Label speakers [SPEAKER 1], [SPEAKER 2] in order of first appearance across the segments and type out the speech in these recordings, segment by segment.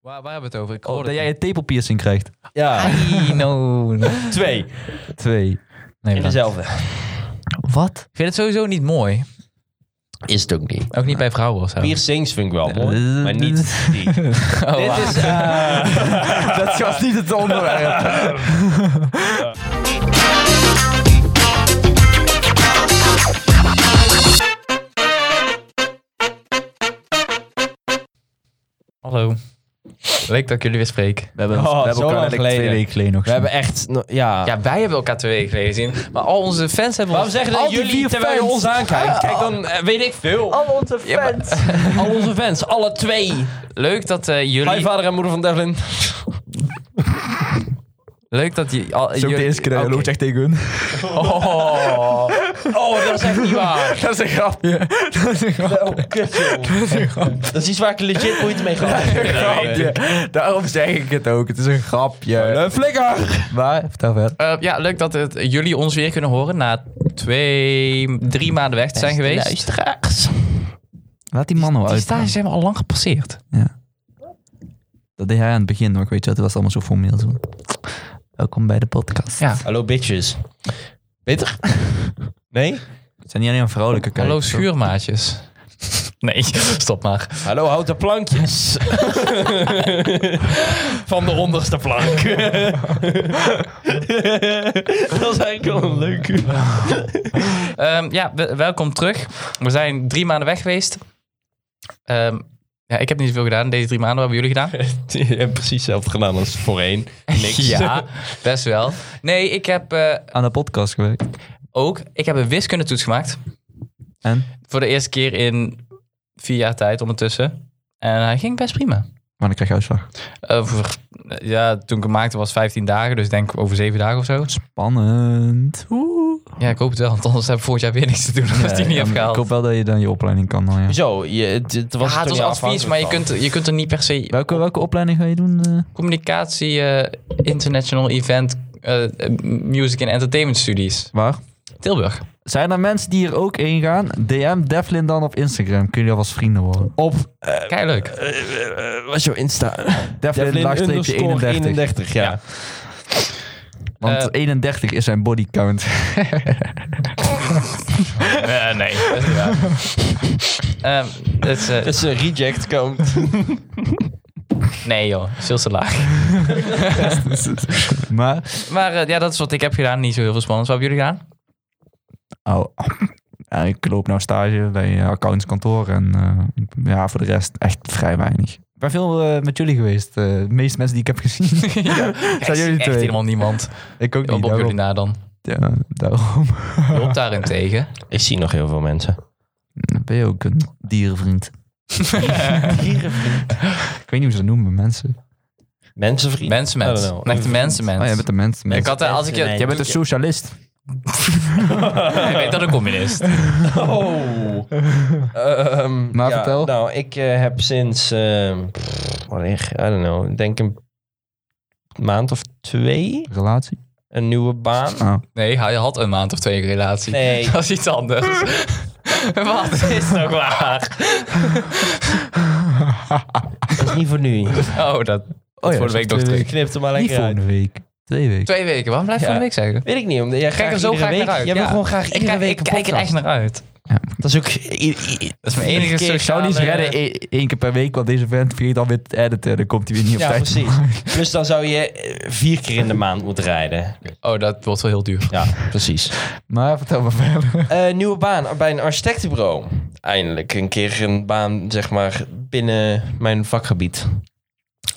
[SPEAKER 1] Waar, waar hebben we het over? Ik hoorde
[SPEAKER 2] Oh, dat jij een tepelpiercing krijgt.
[SPEAKER 3] Ja,
[SPEAKER 1] Ai, no. Nee,
[SPEAKER 3] twee.
[SPEAKER 2] Twee.
[SPEAKER 3] In
[SPEAKER 1] bedankt.
[SPEAKER 3] dezelfde.
[SPEAKER 2] Wat?
[SPEAKER 1] Ik vind het sowieso niet mooi.
[SPEAKER 3] Is het ook niet.
[SPEAKER 1] Ook niet bij vrouwen of zo.
[SPEAKER 3] Piercings vind ik wel mooi, maar niet die.
[SPEAKER 1] Oh,
[SPEAKER 3] Dit
[SPEAKER 1] wauw.
[SPEAKER 3] is... eh,
[SPEAKER 2] Dat was niet het onderwerp.
[SPEAKER 1] Hallo. Leuk dat ik jullie weer spreek.
[SPEAKER 2] We hebben,
[SPEAKER 3] Oh,
[SPEAKER 2] we
[SPEAKER 3] zo
[SPEAKER 2] hebben elkaar
[SPEAKER 3] lang
[SPEAKER 2] eigenlijk twee
[SPEAKER 3] geleden.
[SPEAKER 2] weken geleden nog
[SPEAKER 3] we hebben echt... no- Ja.
[SPEAKER 1] Ja, wij hebben elkaar twee weken geleden gezien. Maar al onze fans hebben
[SPEAKER 3] Waarom zeggen dat
[SPEAKER 2] Al die
[SPEAKER 3] jullie
[SPEAKER 2] vier
[SPEAKER 3] terwijl je
[SPEAKER 2] fans.
[SPEAKER 3] ons aankijkt? Kijk, dan eh, weet ik veel.
[SPEAKER 2] al onze fans.
[SPEAKER 3] Al onze fans, alle twee.
[SPEAKER 1] Leuk dat eh,
[SPEAKER 3] Hi,
[SPEAKER 1] jullie...
[SPEAKER 3] vader en moeder van Devlin.
[SPEAKER 1] Leuk dat je- al-
[SPEAKER 2] Dat
[SPEAKER 1] jullie...
[SPEAKER 2] is ook de eerste keer dat je
[SPEAKER 1] Oké.
[SPEAKER 2] loopt echt tegen hun.
[SPEAKER 1] Oh.
[SPEAKER 3] Oh, dat is echt niet waar.
[SPEAKER 2] Dat is een grapje. Dat is een grapje.
[SPEAKER 3] Oh, kut, joh. Dat is iets waar ik legit moeite mee ga.
[SPEAKER 2] grapje. Daarom zeg ik het ook. Het is een grapje.
[SPEAKER 3] flikker!
[SPEAKER 2] Maar, vertel verder.
[SPEAKER 1] Eh, ja, leuk dat het, jullie ons weer kunnen horen na twee, drie maanden weg te zijn geweest. Oh,
[SPEAKER 3] Luisteraars.
[SPEAKER 2] Laat die man nou
[SPEAKER 1] Die
[SPEAKER 2] uit.
[SPEAKER 1] stages hebben we al lang gepasseerd.
[SPEAKER 2] Dat deed hij aan het begin nog, weet je. Dat was allemaal zo formeel. Zo. Welkom bij de podcast.
[SPEAKER 1] Ja.
[SPEAKER 3] Hallo, bitches. Bitter? Nee?
[SPEAKER 2] Het zijn niet alleen vrouwelijke kijkers.
[SPEAKER 1] Hallo
[SPEAKER 2] hoor.
[SPEAKER 1] schuurmaatjes. Nee, stop maar.
[SPEAKER 3] Hallo, houten plankjes. van de onderste plank. dat is eigenlijk wel een leuke.
[SPEAKER 1] Ehm, ja, we- welkom terug. We zijn drie maanden weg geweest. Ehm, ja, ik heb niet zoveel gedaan. Deze drie maanden wat hebben jullie gedaan.
[SPEAKER 3] Je hebt precies hetzelfde gedaan als voorheen. Niks.
[SPEAKER 1] Ja, best wel. Nee, ik heb eh,
[SPEAKER 2] Aan de podcast gewerkt.
[SPEAKER 1] ook ik heb een wiskundetoets gemaakt.
[SPEAKER 2] En?
[SPEAKER 1] Voor de eerste keer in vier jaar tijd ondertussen. En hij ging best prima.
[SPEAKER 2] Maar dan krijg je uitslag.
[SPEAKER 1] Over, ja, toen ik hem maakte was 15 dagen, dus denk over 7 dagen of zo.
[SPEAKER 2] Spannend. Oeh.
[SPEAKER 1] Ja, ik hoop het wel, want anders heb ik volgend jaar weer niks te doen als
[SPEAKER 2] Ja,
[SPEAKER 1] die niet
[SPEAKER 2] ja,
[SPEAKER 1] heb
[SPEAKER 2] maar
[SPEAKER 1] gehaald.
[SPEAKER 2] Ik hoop wel dat je dan je opleiding kan. Dan, ja.
[SPEAKER 3] Zo, je, het, het was
[SPEAKER 1] ja,
[SPEAKER 3] toch
[SPEAKER 1] het was advies,
[SPEAKER 3] niet afhankelijk
[SPEAKER 1] maar je
[SPEAKER 3] van.
[SPEAKER 1] kunt, je kunt er niet per se...
[SPEAKER 2] Welke, welke opleiding ga je doen? eh?
[SPEAKER 1] Communicatie, eh, international event, eh, music en entertainment studies.
[SPEAKER 2] Waar?
[SPEAKER 1] Tilburg.
[SPEAKER 2] Zijn er mensen die er ook heen gaan? DM Devlin dan op Instagram. Kunnen jullie alvast vrienden worden?
[SPEAKER 3] op.
[SPEAKER 1] Kijk, leuk.
[SPEAKER 3] eh, eh, eh, wat is jouw Insta?
[SPEAKER 2] Devlin,
[SPEAKER 3] Devlin
[SPEAKER 2] laagstreepje
[SPEAKER 3] underscore
[SPEAKER 2] 31.
[SPEAKER 3] 31, ja.
[SPEAKER 1] Ja.
[SPEAKER 2] Want
[SPEAKER 1] Eh,
[SPEAKER 2] 31 is zijn bodycount.
[SPEAKER 1] nee, dat is niet waar. Ehm, dat is, eh,
[SPEAKER 3] Dat is een reject count.
[SPEAKER 1] nee joh, veel te laag.
[SPEAKER 2] maar.
[SPEAKER 1] Maar eh, ja, dat is wat ik heb gedaan. Niet zo heel veel spannends. Wat hebben jullie gedaan?
[SPEAKER 2] Oh. Ja, ik loop nou stage bij een accountskantoor. En eh, ja, voor de rest echt vrij weinig. Ik ben veel eh, met jullie geweest. eh, de meeste mensen die ik heb gezien.
[SPEAKER 1] Zijn
[SPEAKER 2] jullie
[SPEAKER 1] echt
[SPEAKER 2] twee?
[SPEAKER 1] helemaal niemand.
[SPEAKER 2] ik ook
[SPEAKER 1] Wat
[SPEAKER 2] niet.
[SPEAKER 1] op jullie
[SPEAKER 2] Daarom.
[SPEAKER 1] na dan?
[SPEAKER 2] Ja, daarom.
[SPEAKER 1] Rob daarentegen.
[SPEAKER 3] Ik zie nog heel veel mensen.
[SPEAKER 2] Dan ben je ook een dierenvriend. Ik weet niet hoe ze dat noemen, mensen.
[SPEAKER 3] Mensenvriend.
[SPEAKER 1] Mensen,
[SPEAKER 3] I don't
[SPEAKER 1] mensen.
[SPEAKER 3] know.
[SPEAKER 1] Een echte mensen,
[SPEAKER 2] Oh, jij
[SPEAKER 1] mensen.
[SPEAKER 2] bent een mens. mens.
[SPEAKER 1] Ik had, eh, als ik
[SPEAKER 3] Mensen,
[SPEAKER 1] het,
[SPEAKER 2] Jij bent een socialist.
[SPEAKER 1] ik weet dat een communist.
[SPEAKER 3] Oh. Ehm,
[SPEAKER 2] Maar vertel.
[SPEAKER 3] Nou, ik eh, heb sinds, ehm, pff, wanneer, I don't know, ik denk een maand of twee
[SPEAKER 2] Relatie.
[SPEAKER 3] een nieuwe baan.
[SPEAKER 2] Oh.
[SPEAKER 1] Nee, hij had een maand of twee een relatie.
[SPEAKER 3] Nee.
[SPEAKER 1] Dat is iets anders. Wat is toch waar?
[SPEAKER 3] Dat is niet voor nu.
[SPEAKER 1] Oh, dat.
[SPEAKER 2] Oh ja,
[SPEAKER 1] voor de week nog
[SPEAKER 3] dus
[SPEAKER 1] terug.
[SPEAKER 3] Knipt er maar
[SPEAKER 2] Niet
[SPEAKER 3] lekker uit.
[SPEAKER 2] volgende week. Twee weken.
[SPEAKER 1] Twee weken. Waarom blijf je
[SPEAKER 3] Ja.
[SPEAKER 1] van de week zeggen?
[SPEAKER 3] Weet ik niet, omdat jij
[SPEAKER 1] Kijk
[SPEAKER 3] graag
[SPEAKER 1] er zo
[SPEAKER 3] iedere
[SPEAKER 1] graag
[SPEAKER 3] week,
[SPEAKER 1] naar uit.
[SPEAKER 3] Jij wil
[SPEAKER 1] ja.
[SPEAKER 3] gewoon graag
[SPEAKER 1] ik,
[SPEAKER 3] iedere
[SPEAKER 1] kijk-
[SPEAKER 3] week
[SPEAKER 1] Ik
[SPEAKER 3] een
[SPEAKER 1] kijk er
[SPEAKER 3] podcast.
[SPEAKER 1] echt naar uit.
[SPEAKER 3] Dat is ook... i- i- i-
[SPEAKER 1] Dat is mijn enige
[SPEAKER 3] keer, eh,
[SPEAKER 1] sociale...
[SPEAKER 3] ik
[SPEAKER 2] Ik zou niet eens redden Eén één keer per week, want deze vent vergeet alweer te editen. Dan komt hij weer niet op
[SPEAKER 3] Ja,
[SPEAKER 2] tijd.
[SPEAKER 3] precies. Dus dan zou je eh, vier keer in de maand moeten rijden.
[SPEAKER 1] Oh, dat wordt wel heel duur.
[SPEAKER 3] Ja, precies.
[SPEAKER 2] Maar vertel maar verder.
[SPEAKER 3] Eh, nieuwe baan bij een architectenbureau. Eindelijk een keer een baan, zeg maar, binnen mijn vakgebied.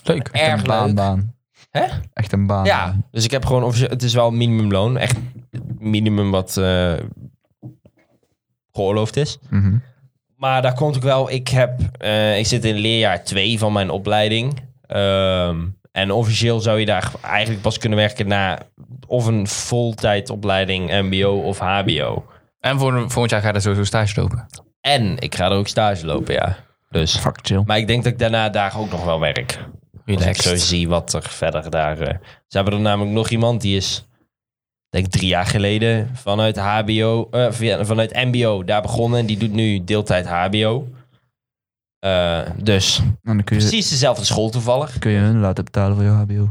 [SPEAKER 1] Leuk.
[SPEAKER 3] Erg
[SPEAKER 2] een baan,
[SPEAKER 3] leuk.
[SPEAKER 2] baan.
[SPEAKER 3] Hè?
[SPEAKER 2] Echt een baan.
[SPEAKER 3] Ja, dus ik heb gewoon officieel... Het is wel minimumloon. Echt minimum wat eh, geoorloofd is.
[SPEAKER 2] Mhm.
[SPEAKER 3] Maar daar komt ook wel... Ik, heb, eh, ik zit in leerjaar 2 van mijn opleiding. Ehm, en officieel zou je daar eigenlijk pas kunnen werken na... Of een voltijdopleiding mbo of hbo.
[SPEAKER 1] En voor, volgend jaar ga je daar sowieso stage lopen.
[SPEAKER 3] En ik ga er ook stage lopen, ja. Dus...
[SPEAKER 2] Fuck chill.
[SPEAKER 3] Maar ik denk dat ik daarna daar ook nog wel werk. Als ik zo
[SPEAKER 1] Relaxed.
[SPEAKER 3] zie wat er verder daar... eh, ze hebben er namelijk nog iemand die is... Denk ik drie jaar geleden vanuit HBO... eh, via- vanuit MBO daar begonnen. En die doet nu deeltijd HBO. Eh, Eh, dus
[SPEAKER 2] En dan kun je,
[SPEAKER 3] precies dezelfde school toevallig.
[SPEAKER 2] kun je hun laten betalen voor je HBO.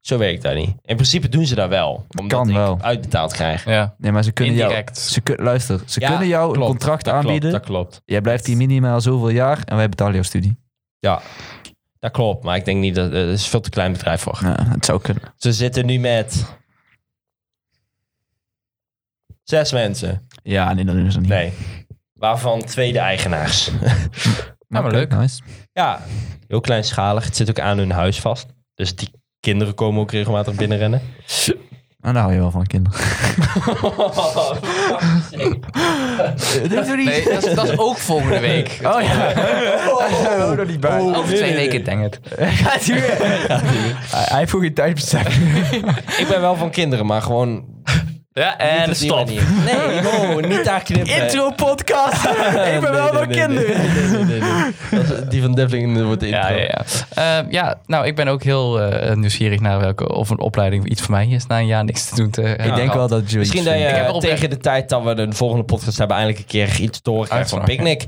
[SPEAKER 3] Zo werkt dat niet. In principe doen ze dat wel. Omdat
[SPEAKER 2] Kan
[SPEAKER 3] ik
[SPEAKER 2] wel.
[SPEAKER 3] uitbetaald krijg.
[SPEAKER 1] Ja,
[SPEAKER 2] Nee, maar ze kunnen
[SPEAKER 1] Indirect.
[SPEAKER 2] jou... Ze kun- luister, ze
[SPEAKER 3] Ja,
[SPEAKER 2] kunnen jou
[SPEAKER 3] klopt.
[SPEAKER 2] een contract
[SPEAKER 3] Dat
[SPEAKER 2] aanbieden.
[SPEAKER 3] Klopt, dat klopt.
[SPEAKER 2] Jij blijft hier minimaal zoveel jaar en wij betalen jouw studie.
[SPEAKER 3] Ja, dat klopt. Maar ik denk niet dat... Het is veel te klein bedrijf voor.
[SPEAKER 2] Ja, het zou kunnen.
[SPEAKER 3] Ze zitten nu met... Zes mensen.
[SPEAKER 2] Ja, nee, dat doen ze niet.
[SPEAKER 3] Nee. Waarvan twee de eigenaars.
[SPEAKER 1] Ja, maar
[SPEAKER 2] Oké,
[SPEAKER 1] leuk.
[SPEAKER 2] nice.
[SPEAKER 3] Ja, heel kleinschalig. Het zit ook aan hun huis vast. Dus die kinderen komen ook regelmatig binnenrennen.
[SPEAKER 2] En Nou, daar hou je wel van, kinderen. Dit is toch niet...
[SPEAKER 1] Nee, dat is, dat is ook volgende week.
[SPEAKER 2] Oh ja. Oh, nog niet bij.
[SPEAKER 1] Over twee weken, denk ik.
[SPEAKER 2] Gaat hij weer. Hij hij heeft gewoon geen tijdsbesef.
[SPEAKER 3] Ik ben wel van kinderen, maar gewoon...
[SPEAKER 1] Ja,
[SPEAKER 3] niet
[SPEAKER 1] en
[SPEAKER 3] op die
[SPEAKER 1] stop.
[SPEAKER 3] manier. Nee, wow, niet daar knippen.
[SPEAKER 2] podcast. Ik ben wel van kinderen.
[SPEAKER 3] Die van Devlin wordt de
[SPEAKER 1] Ja,
[SPEAKER 3] intro.
[SPEAKER 1] ja, ja. Eh, ja, nou, ik ben ook heel eh, nieuwsgierig naar welke of een opleiding iets voor mij is na een jaar niks te doen. Te
[SPEAKER 2] Ik denk wel dat je
[SPEAKER 3] Misschien dat
[SPEAKER 1] Ik heb
[SPEAKER 3] je
[SPEAKER 1] erop-
[SPEAKER 3] tegen de tijd dat we de volgende podcast hebben... eindelijk een keer iets te horen krijgt van
[SPEAKER 1] Uitslag,
[SPEAKER 3] Picnic.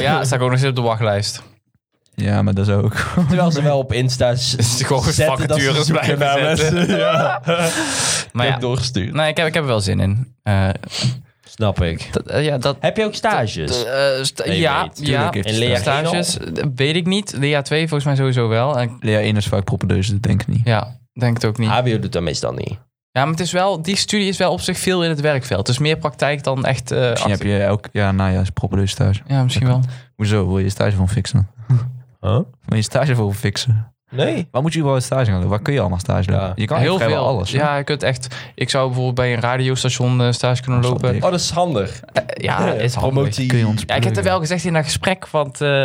[SPEAKER 1] Ja, sta ik ook nog steeds op de wachtlijst.
[SPEAKER 2] Ja, maar dat is ook...
[SPEAKER 3] Terwijl ze wel op Insta s-
[SPEAKER 1] is gewoon
[SPEAKER 3] zetten dat ze
[SPEAKER 1] vacatures
[SPEAKER 3] zoeken
[SPEAKER 1] blijven
[SPEAKER 3] naar
[SPEAKER 1] zetten.
[SPEAKER 3] mensen. Ja.
[SPEAKER 1] Maar ja,
[SPEAKER 3] doorgestuurd.
[SPEAKER 1] nee, ik, heb, ik heb er wel zin in. Eh,
[SPEAKER 3] Snap ik.
[SPEAKER 1] dat, eh, ja, dat,
[SPEAKER 3] Heb je ook stages?
[SPEAKER 1] eh, sta-
[SPEAKER 3] Dus, Nee,
[SPEAKER 1] ja,
[SPEAKER 3] weet,
[SPEAKER 1] ja,
[SPEAKER 2] tuurlijk.
[SPEAKER 3] En leer
[SPEAKER 1] stages, eh, weet ik niet. Lea 2 volgens mij sowieso wel. En,
[SPEAKER 2] Lea 1 is vaak propedeus, dat denk ik niet.
[SPEAKER 1] ja, denk het ook niet.
[SPEAKER 3] HBO doet dat meestal niet.
[SPEAKER 1] Ja, maar het is wel, die studie is wel op zich veel in het werkveld. Dus meer praktijk dan echt... eh,
[SPEAKER 2] Misschien
[SPEAKER 1] achter-
[SPEAKER 2] heb je elk nou jaar najaars propedeus stage.
[SPEAKER 1] Ja, misschien wel.
[SPEAKER 2] Hoezo? Wil je stage van fixen? Wil je stage voor fixen?
[SPEAKER 3] Nee.
[SPEAKER 2] Waar moet je überhaupt stage gaan doen? Waar kun je allemaal stage doen?
[SPEAKER 3] Ja.
[SPEAKER 2] Je kan
[SPEAKER 1] Heel veel.
[SPEAKER 2] alles. hè?
[SPEAKER 1] ja, je kunt echt... Ik zou bijvoorbeeld bij een radiostation eh, stage kunnen
[SPEAKER 2] Dat is wel
[SPEAKER 1] lopen.
[SPEAKER 2] dik.
[SPEAKER 3] Oh, dat is handig.
[SPEAKER 1] Ja, is handig.
[SPEAKER 3] Promotie.
[SPEAKER 2] Kun je ons
[SPEAKER 1] Ja, ik heb
[SPEAKER 2] pluggen?
[SPEAKER 1] het wel gezegd in dat gesprek, want... eh,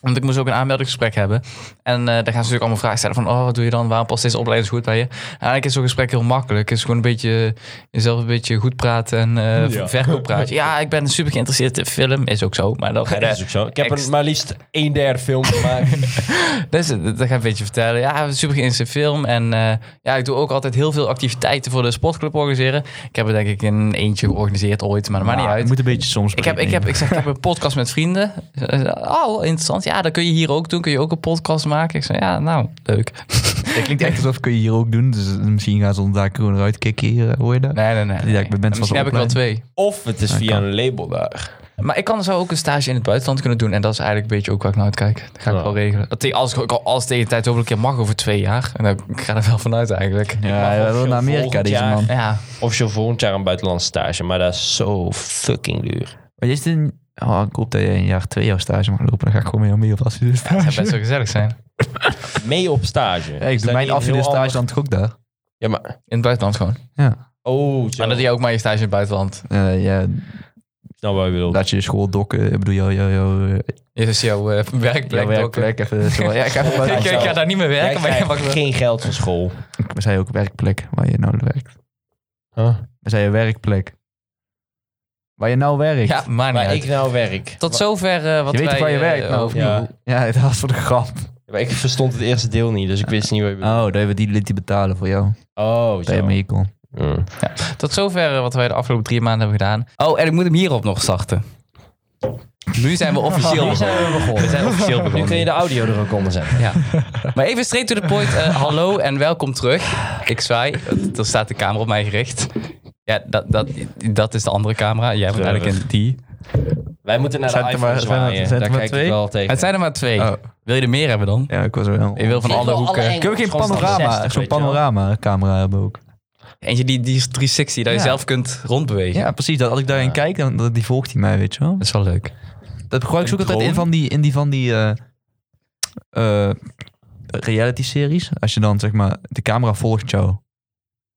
[SPEAKER 1] want ik moest ook een aanmeldingsgesprek hebben. En eh, daar gaan ze natuurlijk allemaal vragen stellen van... Oh, wat doe je dan? Waarom past deze opleiding zo goed bij je? En eigenlijk is zo'n gesprek heel makkelijk. Het is gewoon een beetje... Jezelf een beetje goed praten en eh
[SPEAKER 3] Ja.
[SPEAKER 1] verkoop praten. Ja, ik ben super geïnteresseerd in film. Is ook zo, maar dan ga je
[SPEAKER 3] Ja, dat
[SPEAKER 1] daar-
[SPEAKER 3] is ook zo. Ik heb
[SPEAKER 1] Ex-
[SPEAKER 3] een, maar liefst een derde film gemaakt.
[SPEAKER 1] Dus eh, dat ga ik een beetje vertellen. Ja, super geïnteresseerd film. En eh, ja, ik doe ook altijd heel veel activiteiten voor de sportclub organiseren. Ik heb er denk ik een eentje georganiseerd ooit, maar dat maakt
[SPEAKER 2] Ja,
[SPEAKER 1] niet
[SPEAKER 2] het
[SPEAKER 1] uit.
[SPEAKER 2] moet een beetje soms.
[SPEAKER 1] Ik heb, ik, heb, ik zeg, ik heb een podcast met vrienden. Ze zeiden, Oh, interessant. Ja, dat kun je hier ook doen. Kun je ook een podcast maken? Ik zei, ja, nou, leuk.
[SPEAKER 2] Het klinkt echt alsof kun je hier ook doen. Dus misschien gaan ze ons daar gewoon eruit kicken. Hier, eh, hoor je dat?
[SPEAKER 1] Nee, nee, nee.
[SPEAKER 2] Die dacht, ik ben best
[SPEAKER 1] Misschien
[SPEAKER 2] wel
[SPEAKER 1] heb ik wel twee.
[SPEAKER 3] Of het is
[SPEAKER 2] Ja,
[SPEAKER 3] via
[SPEAKER 2] kan.
[SPEAKER 3] een label daar.
[SPEAKER 1] Maar ik kan zo ook een stage in het buitenland kunnen doen. En dat is eigenlijk een beetje ook waar ik naar uitkijk. Dat ga ik
[SPEAKER 3] Ja.
[SPEAKER 1] wel regelen. Dat tegen- Als, ik- als tegen de tijd hopelijk een keer mag over twee jaar. En dan, ik ga er wel vanuit eigenlijk.
[SPEAKER 2] Ja,
[SPEAKER 3] Maar
[SPEAKER 2] hij wil
[SPEAKER 3] officieel
[SPEAKER 2] naar Amerika,
[SPEAKER 3] volgend
[SPEAKER 2] deze
[SPEAKER 3] jaar.
[SPEAKER 2] man.
[SPEAKER 1] Ja,
[SPEAKER 3] Officieel volgend jaar een buitenlandse stage. Maar dat is zo fucking duur.
[SPEAKER 2] Maar is dit een... Oh, ik hoop dat je een jaar twee jaar stage mag lopen. Dan ga ik gewoon mee om mee op
[SPEAKER 1] het
[SPEAKER 2] afstudeerstage.
[SPEAKER 1] zou best wel gezellig zijn.
[SPEAKER 3] Mee op stage.
[SPEAKER 2] Ja, ik doe
[SPEAKER 3] Is dat
[SPEAKER 2] mijn
[SPEAKER 3] niet een heel
[SPEAKER 2] afstudeerstage
[SPEAKER 3] ander-
[SPEAKER 2] dan toch ook daar.
[SPEAKER 3] Ja, maar...
[SPEAKER 1] In het buitenland gewoon.
[SPEAKER 3] Oh, zo.
[SPEAKER 1] Maar dat doe je ook maar je stage in het buitenland.
[SPEAKER 2] Eh, ja,
[SPEAKER 3] Nou, wat je bedoelt.
[SPEAKER 2] laat je school dokken. Ik bedoel, jouw jou, jou, jou,
[SPEAKER 1] Je is jouw eh, werkplek. dokken.
[SPEAKER 2] werkplek. Even, zo. ja, ik, ga even
[SPEAKER 1] Ik,
[SPEAKER 2] buiten-
[SPEAKER 1] ik ga daar niet meer
[SPEAKER 3] Jij
[SPEAKER 1] werken, maar je mag
[SPEAKER 3] krijgt
[SPEAKER 1] wel.
[SPEAKER 3] geen geld van school.
[SPEAKER 2] We zei ook werkplek waar je nou werkt. We zei je werkplek. Waar je nou werkt.
[SPEAKER 1] Ja, maar niet
[SPEAKER 3] Waar
[SPEAKER 1] uit.
[SPEAKER 3] ik nou werk.
[SPEAKER 1] Tot zover eh, wat
[SPEAKER 2] je weet
[SPEAKER 1] wij...
[SPEAKER 2] toch waar je
[SPEAKER 1] eh,
[SPEAKER 2] werkt nou? of
[SPEAKER 1] over-
[SPEAKER 2] niet?
[SPEAKER 3] ja.
[SPEAKER 2] ja, dat was voor de grap.
[SPEAKER 3] Maar ik verstond het eerste deel niet, dus ik wist niet wat je bedoelde.
[SPEAKER 2] Oh, dat hebben die liet die betalen voor jou.
[SPEAKER 3] Oh,
[SPEAKER 2] Dat je
[SPEAKER 3] zo.
[SPEAKER 2] mee kon.
[SPEAKER 3] Mm.
[SPEAKER 1] Tot zover eh, wat wij de afgelopen drie maanden hebben gedaan. Oh, en ik moet hem hierop nog starten. Nu zijn we officieel
[SPEAKER 3] Nu zijn we begonnen.
[SPEAKER 1] We zijn officieel begonnen.
[SPEAKER 3] Nu kun je de audio er ook onder zetten.
[SPEAKER 1] Ja. Maar even straight to the point. eh, hallo en welkom terug. Ik zwaai. want Er staat de camera op mij gericht. Ja, dat, dat, dat is de andere camera. Jij bent
[SPEAKER 3] Treurig.
[SPEAKER 1] eigenlijk in die.
[SPEAKER 3] Wij moeten naar de
[SPEAKER 2] Zijn er
[SPEAKER 3] iPhone
[SPEAKER 2] maar- zijn er-
[SPEAKER 3] zwaaien.
[SPEAKER 2] zijn er maar
[SPEAKER 3] Daar kijk ik
[SPEAKER 2] twee?
[SPEAKER 3] wel tegen.
[SPEAKER 1] Het zijn er maar twee.
[SPEAKER 2] Oh.
[SPEAKER 1] Wil je er meer hebben dan?
[SPEAKER 2] Ja, ik was wel.
[SPEAKER 1] Je wil van
[SPEAKER 3] Ik
[SPEAKER 1] alle
[SPEAKER 3] wil alle
[SPEAKER 1] hoeken.
[SPEAKER 3] engels.
[SPEAKER 2] Kunnen we geen
[SPEAKER 3] Gewoon standaard
[SPEAKER 2] panorama,
[SPEAKER 3] 60,
[SPEAKER 2] zo'n
[SPEAKER 3] weet je wel.
[SPEAKER 2] panorama camera hebben ook?
[SPEAKER 1] Eentje die, die is 360, dat je
[SPEAKER 2] Ja.
[SPEAKER 1] zelf kunt rondbewegen.
[SPEAKER 2] Ja, precies. Dat, als ik daarin kijk, dan dat, die volgt hij mij, weet je wel.
[SPEAKER 1] Dat is wel leuk.
[SPEAKER 2] Dat gebruik ik
[SPEAKER 3] Een
[SPEAKER 2] ook altijd in
[SPEAKER 3] drone?
[SPEAKER 2] van die, in die, van die eh, eh, reality-series. Als je dan, zeg maar, de camera volgt jou.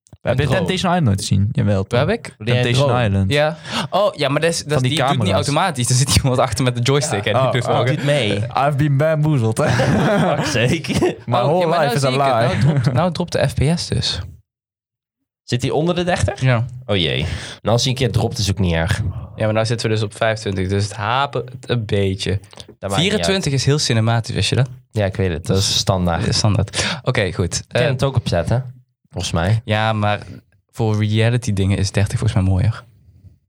[SPEAKER 2] We hebben
[SPEAKER 3] drone.
[SPEAKER 2] Temptation Island nooit gezien. Jawel.
[SPEAKER 1] Waar
[SPEAKER 2] toch?
[SPEAKER 1] heb ik?
[SPEAKER 3] Jij een
[SPEAKER 2] Temptation
[SPEAKER 3] drone.
[SPEAKER 2] Island.
[SPEAKER 1] Ja. Oh, ja, maar dat, is, dat is-
[SPEAKER 2] die
[SPEAKER 1] die, doet niet
[SPEAKER 2] camera's.
[SPEAKER 1] automatisch. Er zit iemand achter met de joystick. en die
[SPEAKER 2] Oh,
[SPEAKER 1] doet
[SPEAKER 2] oh,
[SPEAKER 1] wel-
[SPEAKER 3] Doe het mee.
[SPEAKER 2] I've been bamboozled.
[SPEAKER 3] Fuck, Zeker.
[SPEAKER 2] My
[SPEAKER 1] Oh,
[SPEAKER 2] whole
[SPEAKER 1] ja, maar
[SPEAKER 2] life is a
[SPEAKER 1] nou zie ik het. Nou
[SPEAKER 2] lie.
[SPEAKER 1] dropt, nou dropt de FPS dus.
[SPEAKER 3] Zit hij onder de 30?
[SPEAKER 1] Ja.
[SPEAKER 3] Oh jee. En als hij een keer dropt, is ook niet erg.
[SPEAKER 1] Ja, maar nou zitten we dus op 25, dus het hapert een beetje.
[SPEAKER 3] Dat maakt niet uit.
[SPEAKER 1] 24 is heel cinematisch, wist je dat?
[SPEAKER 3] Ja, ik weet het. Dat is standaard.
[SPEAKER 2] Eh,
[SPEAKER 1] Dat
[SPEAKER 3] Ik
[SPEAKER 1] is standaard. Oké, goed.
[SPEAKER 3] kan
[SPEAKER 1] Eh,
[SPEAKER 3] het ook opzetten. Volgens mij.
[SPEAKER 1] ja, maar voor reality dingen is 30 volgens mij mooier.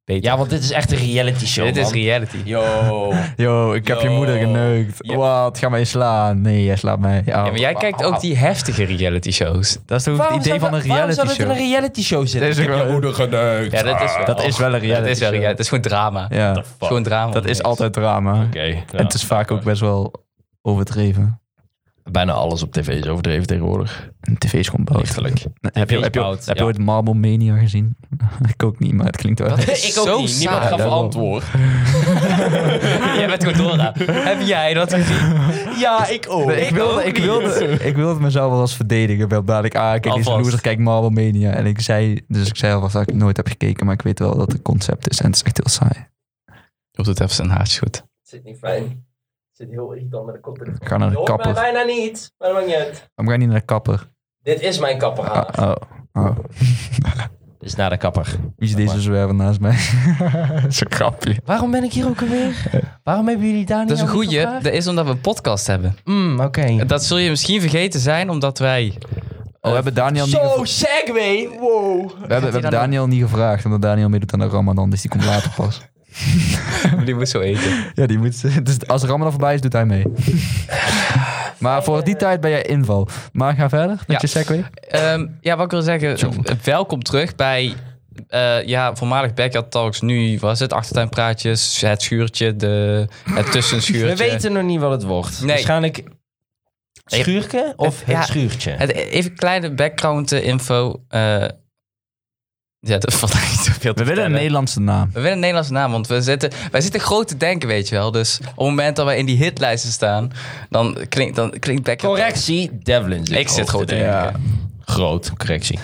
[SPEAKER 2] Beter.
[SPEAKER 3] Ja, want dit is echt een reality show,
[SPEAKER 1] Dit is
[SPEAKER 3] man.
[SPEAKER 1] reality.
[SPEAKER 3] Yo.
[SPEAKER 2] Yo, ik heb je
[SPEAKER 3] Yo.
[SPEAKER 2] moeder geneukt.
[SPEAKER 3] Ja.
[SPEAKER 2] Wat? Ga mij slaan. Nee, jij slaat mij. Ja,
[SPEAKER 1] Ja, maar jij kijkt ook die heftige reality shows.
[SPEAKER 2] Dat is toch het idee van een reality
[SPEAKER 3] Waarom zou
[SPEAKER 2] show?
[SPEAKER 3] dat in een reality show zitten?
[SPEAKER 2] Dit is Ik heb wel- je moeder
[SPEAKER 3] geneukt.
[SPEAKER 1] Ja, dat is wel,
[SPEAKER 2] Dat is wel een reality
[SPEAKER 1] Dat is wel
[SPEAKER 2] show.
[SPEAKER 1] reality. Het is gewoon drama. Het
[SPEAKER 2] Ja,
[SPEAKER 1] is gewoon drama.
[SPEAKER 2] dat is altijd drama.
[SPEAKER 3] Oké.
[SPEAKER 2] En het is vaak ook best wel overdreven.
[SPEAKER 3] Bijna alles op tv is overdreven tegenwoordig.
[SPEAKER 2] En tv is gewoon bout.
[SPEAKER 3] Lichtelijk.
[SPEAKER 2] Heb je, heb je,
[SPEAKER 3] Bout,
[SPEAKER 2] heb je
[SPEAKER 3] ja.
[SPEAKER 2] ooit Marble Mania gezien? ik ook niet, maar het klinkt wel.
[SPEAKER 1] Dat is
[SPEAKER 3] Ik ook
[SPEAKER 1] zo
[SPEAKER 3] niet. Niemand
[SPEAKER 1] saai.
[SPEAKER 3] gaf
[SPEAKER 2] daarom.
[SPEAKER 3] antwoord.
[SPEAKER 1] Jij bent gewoon Dora. Heb jij dat gezien?
[SPEAKER 3] Ja, ik ook.
[SPEAKER 2] Nee, ik, wilde, ik, wilde, ik wilde mezelf wel eens verdedigen. Wel dadelijk, ah, kijk, deze
[SPEAKER 1] Alvast.
[SPEAKER 2] loser, kijk Marble Mania. En ik zei, dus ik zei alvast dat ik nooit heb gekeken, maar ik weet wel dat het concept is. En het is echt heel saai.
[SPEAKER 1] Of doet even zijn haartje goed.
[SPEAKER 4] Zit niet fijn. Zit heel irritant met de koptelefoon.
[SPEAKER 2] Ik ga naar
[SPEAKER 4] Je
[SPEAKER 2] de
[SPEAKER 4] hoort mij
[SPEAKER 2] kapper.
[SPEAKER 4] bijna niet, maar dat maakt niet uit.
[SPEAKER 2] Waarom ga je niet naar de kapper?
[SPEAKER 4] Dit is mijn kapper.
[SPEAKER 2] Ah, oh. oh.
[SPEAKER 3] is naar de kapper.
[SPEAKER 2] Wie is deze zwerver naast mij? Zo'n grapje.
[SPEAKER 3] Waarom ben ik hier ook alweer? Waarom hebben jullie daar niet
[SPEAKER 1] Dat is een
[SPEAKER 3] aan
[SPEAKER 1] goeie.
[SPEAKER 3] gevraagd?
[SPEAKER 1] Dat is omdat we een podcast hebben.
[SPEAKER 3] Mm, oké.
[SPEAKER 1] Dat zul je misschien vergeten zijn, omdat wij...
[SPEAKER 2] Oh, we hebben Daniel niet,
[SPEAKER 3] Zo,
[SPEAKER 2] gevra-
[SPEAKER 3] segway. Wow.
[SPEAKER 2] we hebben, we hebben Daniel niet gevraagd, omdat Daniel meedoet aan de Ramadan, dus die komt later pas.
[SPEAKER 1] Die moet zo eten.
[SPEAKER 2] ja, die moet, dus als Ramadan voorbij is, doet hij mee. maar voor die tijd ben jij inval. Maar ga verder met
[SPEAKER 1] Ja.
[SPEAKER 2] je segway.
[SPEAKER 1] Ehm, ja, wat ik wil zeggen.
[SPEAKER 2] John.
[SPEAKER 1] eh, Welkom terug bij... eh, ja, voormalig Backyard Talks. Nu was het achtertuinpraatjes, het schuurtje, de, het tussenschuurtje.
[SPEAKER 3] We weten nog niet wat het wordt.
[SPEAKER 1] Nee.
[SPEAKER 3] Waarschijnlijk schuurke of het
[SPEAKER 1] Ja.
[SPEAKER 3] schuurtje.
[SPEAKER 1] Het, even kleine background eh, info. eh ja, dat valt eigenlijk niet zoveel te
[SPEAKER 2] We willen een
[SPEAKER 1] vertellen.
[SPEAKER 2] Nederlandse naam.
[SPEAKER 1] We willen een Nederlandse naam, want we zitten, wij zitten groot te denken, weet je wel. Dus op het moment dat wij in die hitlijsten staan, dan klinkt, dan klinkt Backyard
[SPEAKER 3] Correctie, Devlin zit
[SPEAKER 1] Ik zit
[SPEAKER 3] hoog
[SPEAKER 1] groot te
[SPEAKER 3] te denken.
[SPEAKER 1] denken.
[SPEAKER 2] Ja.
[SPEAKER 3] Groot, correctie.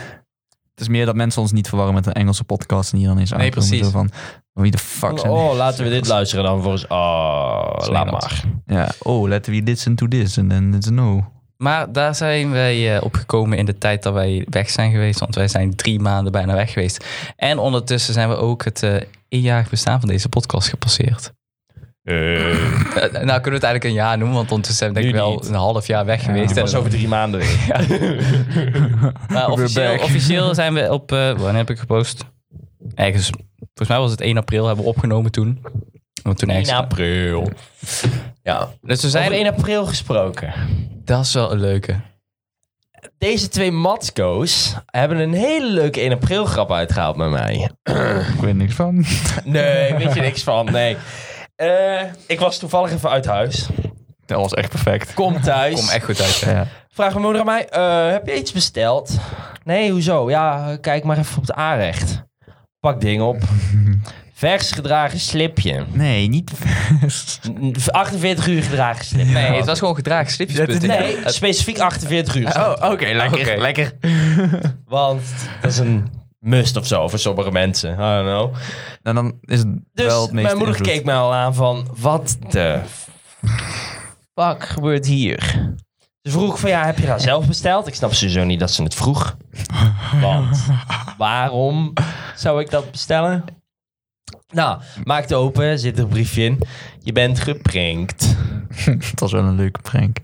[SPEAKER 2] Het is meer dat mensen ons niet verwarren met een Engelse podcast en hier dan eens
[SPEAKER 1] Nee,
[SPEAKER 2] aankomen,
[SPEAKER 1] precies.
[SPEAKER 2] zo van, wie de fuck zijn
[SPEAKER 3] Oh, laten we dit luisteren dan volgens... Oh,
[SPEAKER 1] is
[SPEAKER 3] laat
[SPEAKER 1] Nederlands.
[SPEAKER 3] maar.
[SPEAKER 2] Ja, oh, let we listen to this and then it's a no.
[SPEAKER 1] Maar daar zijn wij eh, opgekomen in de tijd dat wij weg zijn geweest. Want wij zijn drie maanden bijna weg geweest. En ondertussen zijn we ook het eh eenjarig bestaan van deze podcast gepasseerd.
[SPEAKER 3] Eh,
[SPEAKER 1] Eh, nou kunnen we het eigenlijk een jaar noemen, want ondertussen ben ik
[SPEAKER 3] Nu
[SPEAKER 1] wel
[SPEAKER 3] niet.
[SPEAKER 1] een half jaar weg geweest.
[SPEAKER 3] dit was
[SPEAKER 1] En-
[SPEAKER 3] over drie maanden weer.
[SPEAKER 1] Maar officieel,
[SPEAKER 2] back.
[SPEAKER 1] officieel zijn we op. eh, wanneer heb ik gepost? Ergens. Volgens mij was het 1 april hebben we opgenomen toen. Want toen
[SPEAKER 3] 1
[SPEAKER 1] ergens-
[SPEAKER 3] april. Ja.
[SPEAKER 1] Dus we
[SPEAKER 3] Over
[SPEAKER 1] zijn.
[SPEAKER 3] 1 april gesproken.
[SPEAKER 1] Dat is wel een leuke.
[SPEAKER 3] Deze twee matsko's hebben een hele leuke 1 april grap uitgehaald met mij.
[SPEAKER 2] Ik weet niks van.
[SPEAKER 3] Nee, weet je niks van, nee. Eh, ik was toevallig even uit huis.
[SPEAKER 2] Dat was echt perfect.
[SPEAKER 3] Kom thuis.
[SPEAKER 1] Kom echt goed uit. hè.
[SPEAKER 2] Ja.
[SPEAKER 3] Vraag mijn moeder aan mij, eh, heb je iets besteld? Nee, hoezo? Ja, eh, kijk maar even op het aanrecht. Pak ding op. Vers gedragen slipje.
[SPEAKER 2] Nee, niet.
[SPEAKER 3] N- 48 uur gedragen slipje.
[SPEAKER 1] Nee, het was gewoon gedragen slipjes.
[SPEAKER 3] Nee, specifiek 48 uur. Oh, oké, lekker, lekker. Want dat is een must of zo voor sommige mensen. I don't know.
[SPEAKER 2] en Nou, dan is het
[SPEAKER 3] Dus
[SPEAKER 2] wel het meest.
[SPEAKER 3] mijn moeder
[SPEAKER 2] invloed.
[SPEAKER 3] keek mij al aan van, wat de fuck gebeurt hier? Ze vroeg van, ja, heb je dat zelf besteld? Ik snap sowieso niet dat ze het vroeg. Want waarom zou ik dat bestellen? Nou, maak het open, zit er een briefje in. Je bent geprankt.
[SPEAKER 2] Het was wel een leuke prank.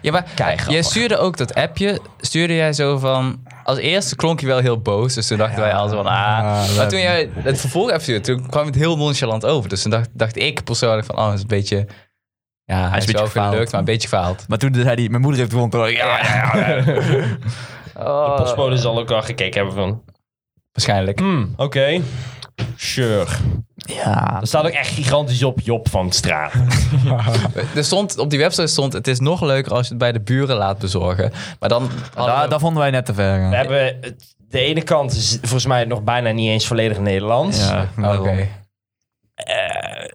[SPEAKER 1] Ja, maar
[SPEAKER 3] Kijk,
[SPEAKER 1] jij
[SPEAKER 3] grappig.
[SPEAKER 1] stuurde ook dat appje. Stuurde jij zo van. Als eerste klonk je wel heel boos. Dus toen dachten wij al zo van.
[SPEAKER 2] Ja,
[SPEAKER 1] Ah. Maar
[SPEAKER 2] dat-
[SPEAKER 1] toen jij het vervolg hebt stuurde, toen kwam het heel nonchalant over. Dus toen dacht, dacht ik persoonlijk van. Oh, het is een beetje. Ja, hij is,
[SPEAKER 2] beetje
[SPEAKER 1] wel
[SPEAKER 2] gefaald.
[SPEAKER 1] gelukt, maar een beetje gefaald.
[SPEAKER 2] Maar toen zei hij: Mijn moeder heeft gewonnen. Toen dacht ik, Ja, ja, ja.
[SPEAKER 3] De
[SPEAKER 1] Oh.
[SPEAKER 3] postbode zal ook al gekeken hebben van...
[SPEAKER 1] Waarschijnlijk.
[SPEAKER 3] Eh, Hmm, oké. Sure.
[SPEAKER 2] ja.
[SPEAKER 3] Er staat ook echt gigantisch op Job van straat.
[SPEAKER 1] Er stond, op die website stond, het is nog leuker als je het bij de buren laat bezorgen. Maar dan... hadden
[SPEAKER 2] Daar,
[SPEAKER 1] we-
[SPEAKER 2] daar vonden wij net te ver.
[SPEAKER 3] We
[SPEAKER 2] gaan.
[SPEAKER 3] hebben... het- De ene kant is volgens mij nog bijna niet eens volledig Nederlands. Ja,
[SPEAKER 2] Ja, daarom.
[SPEAKER 1] Oké. Nou,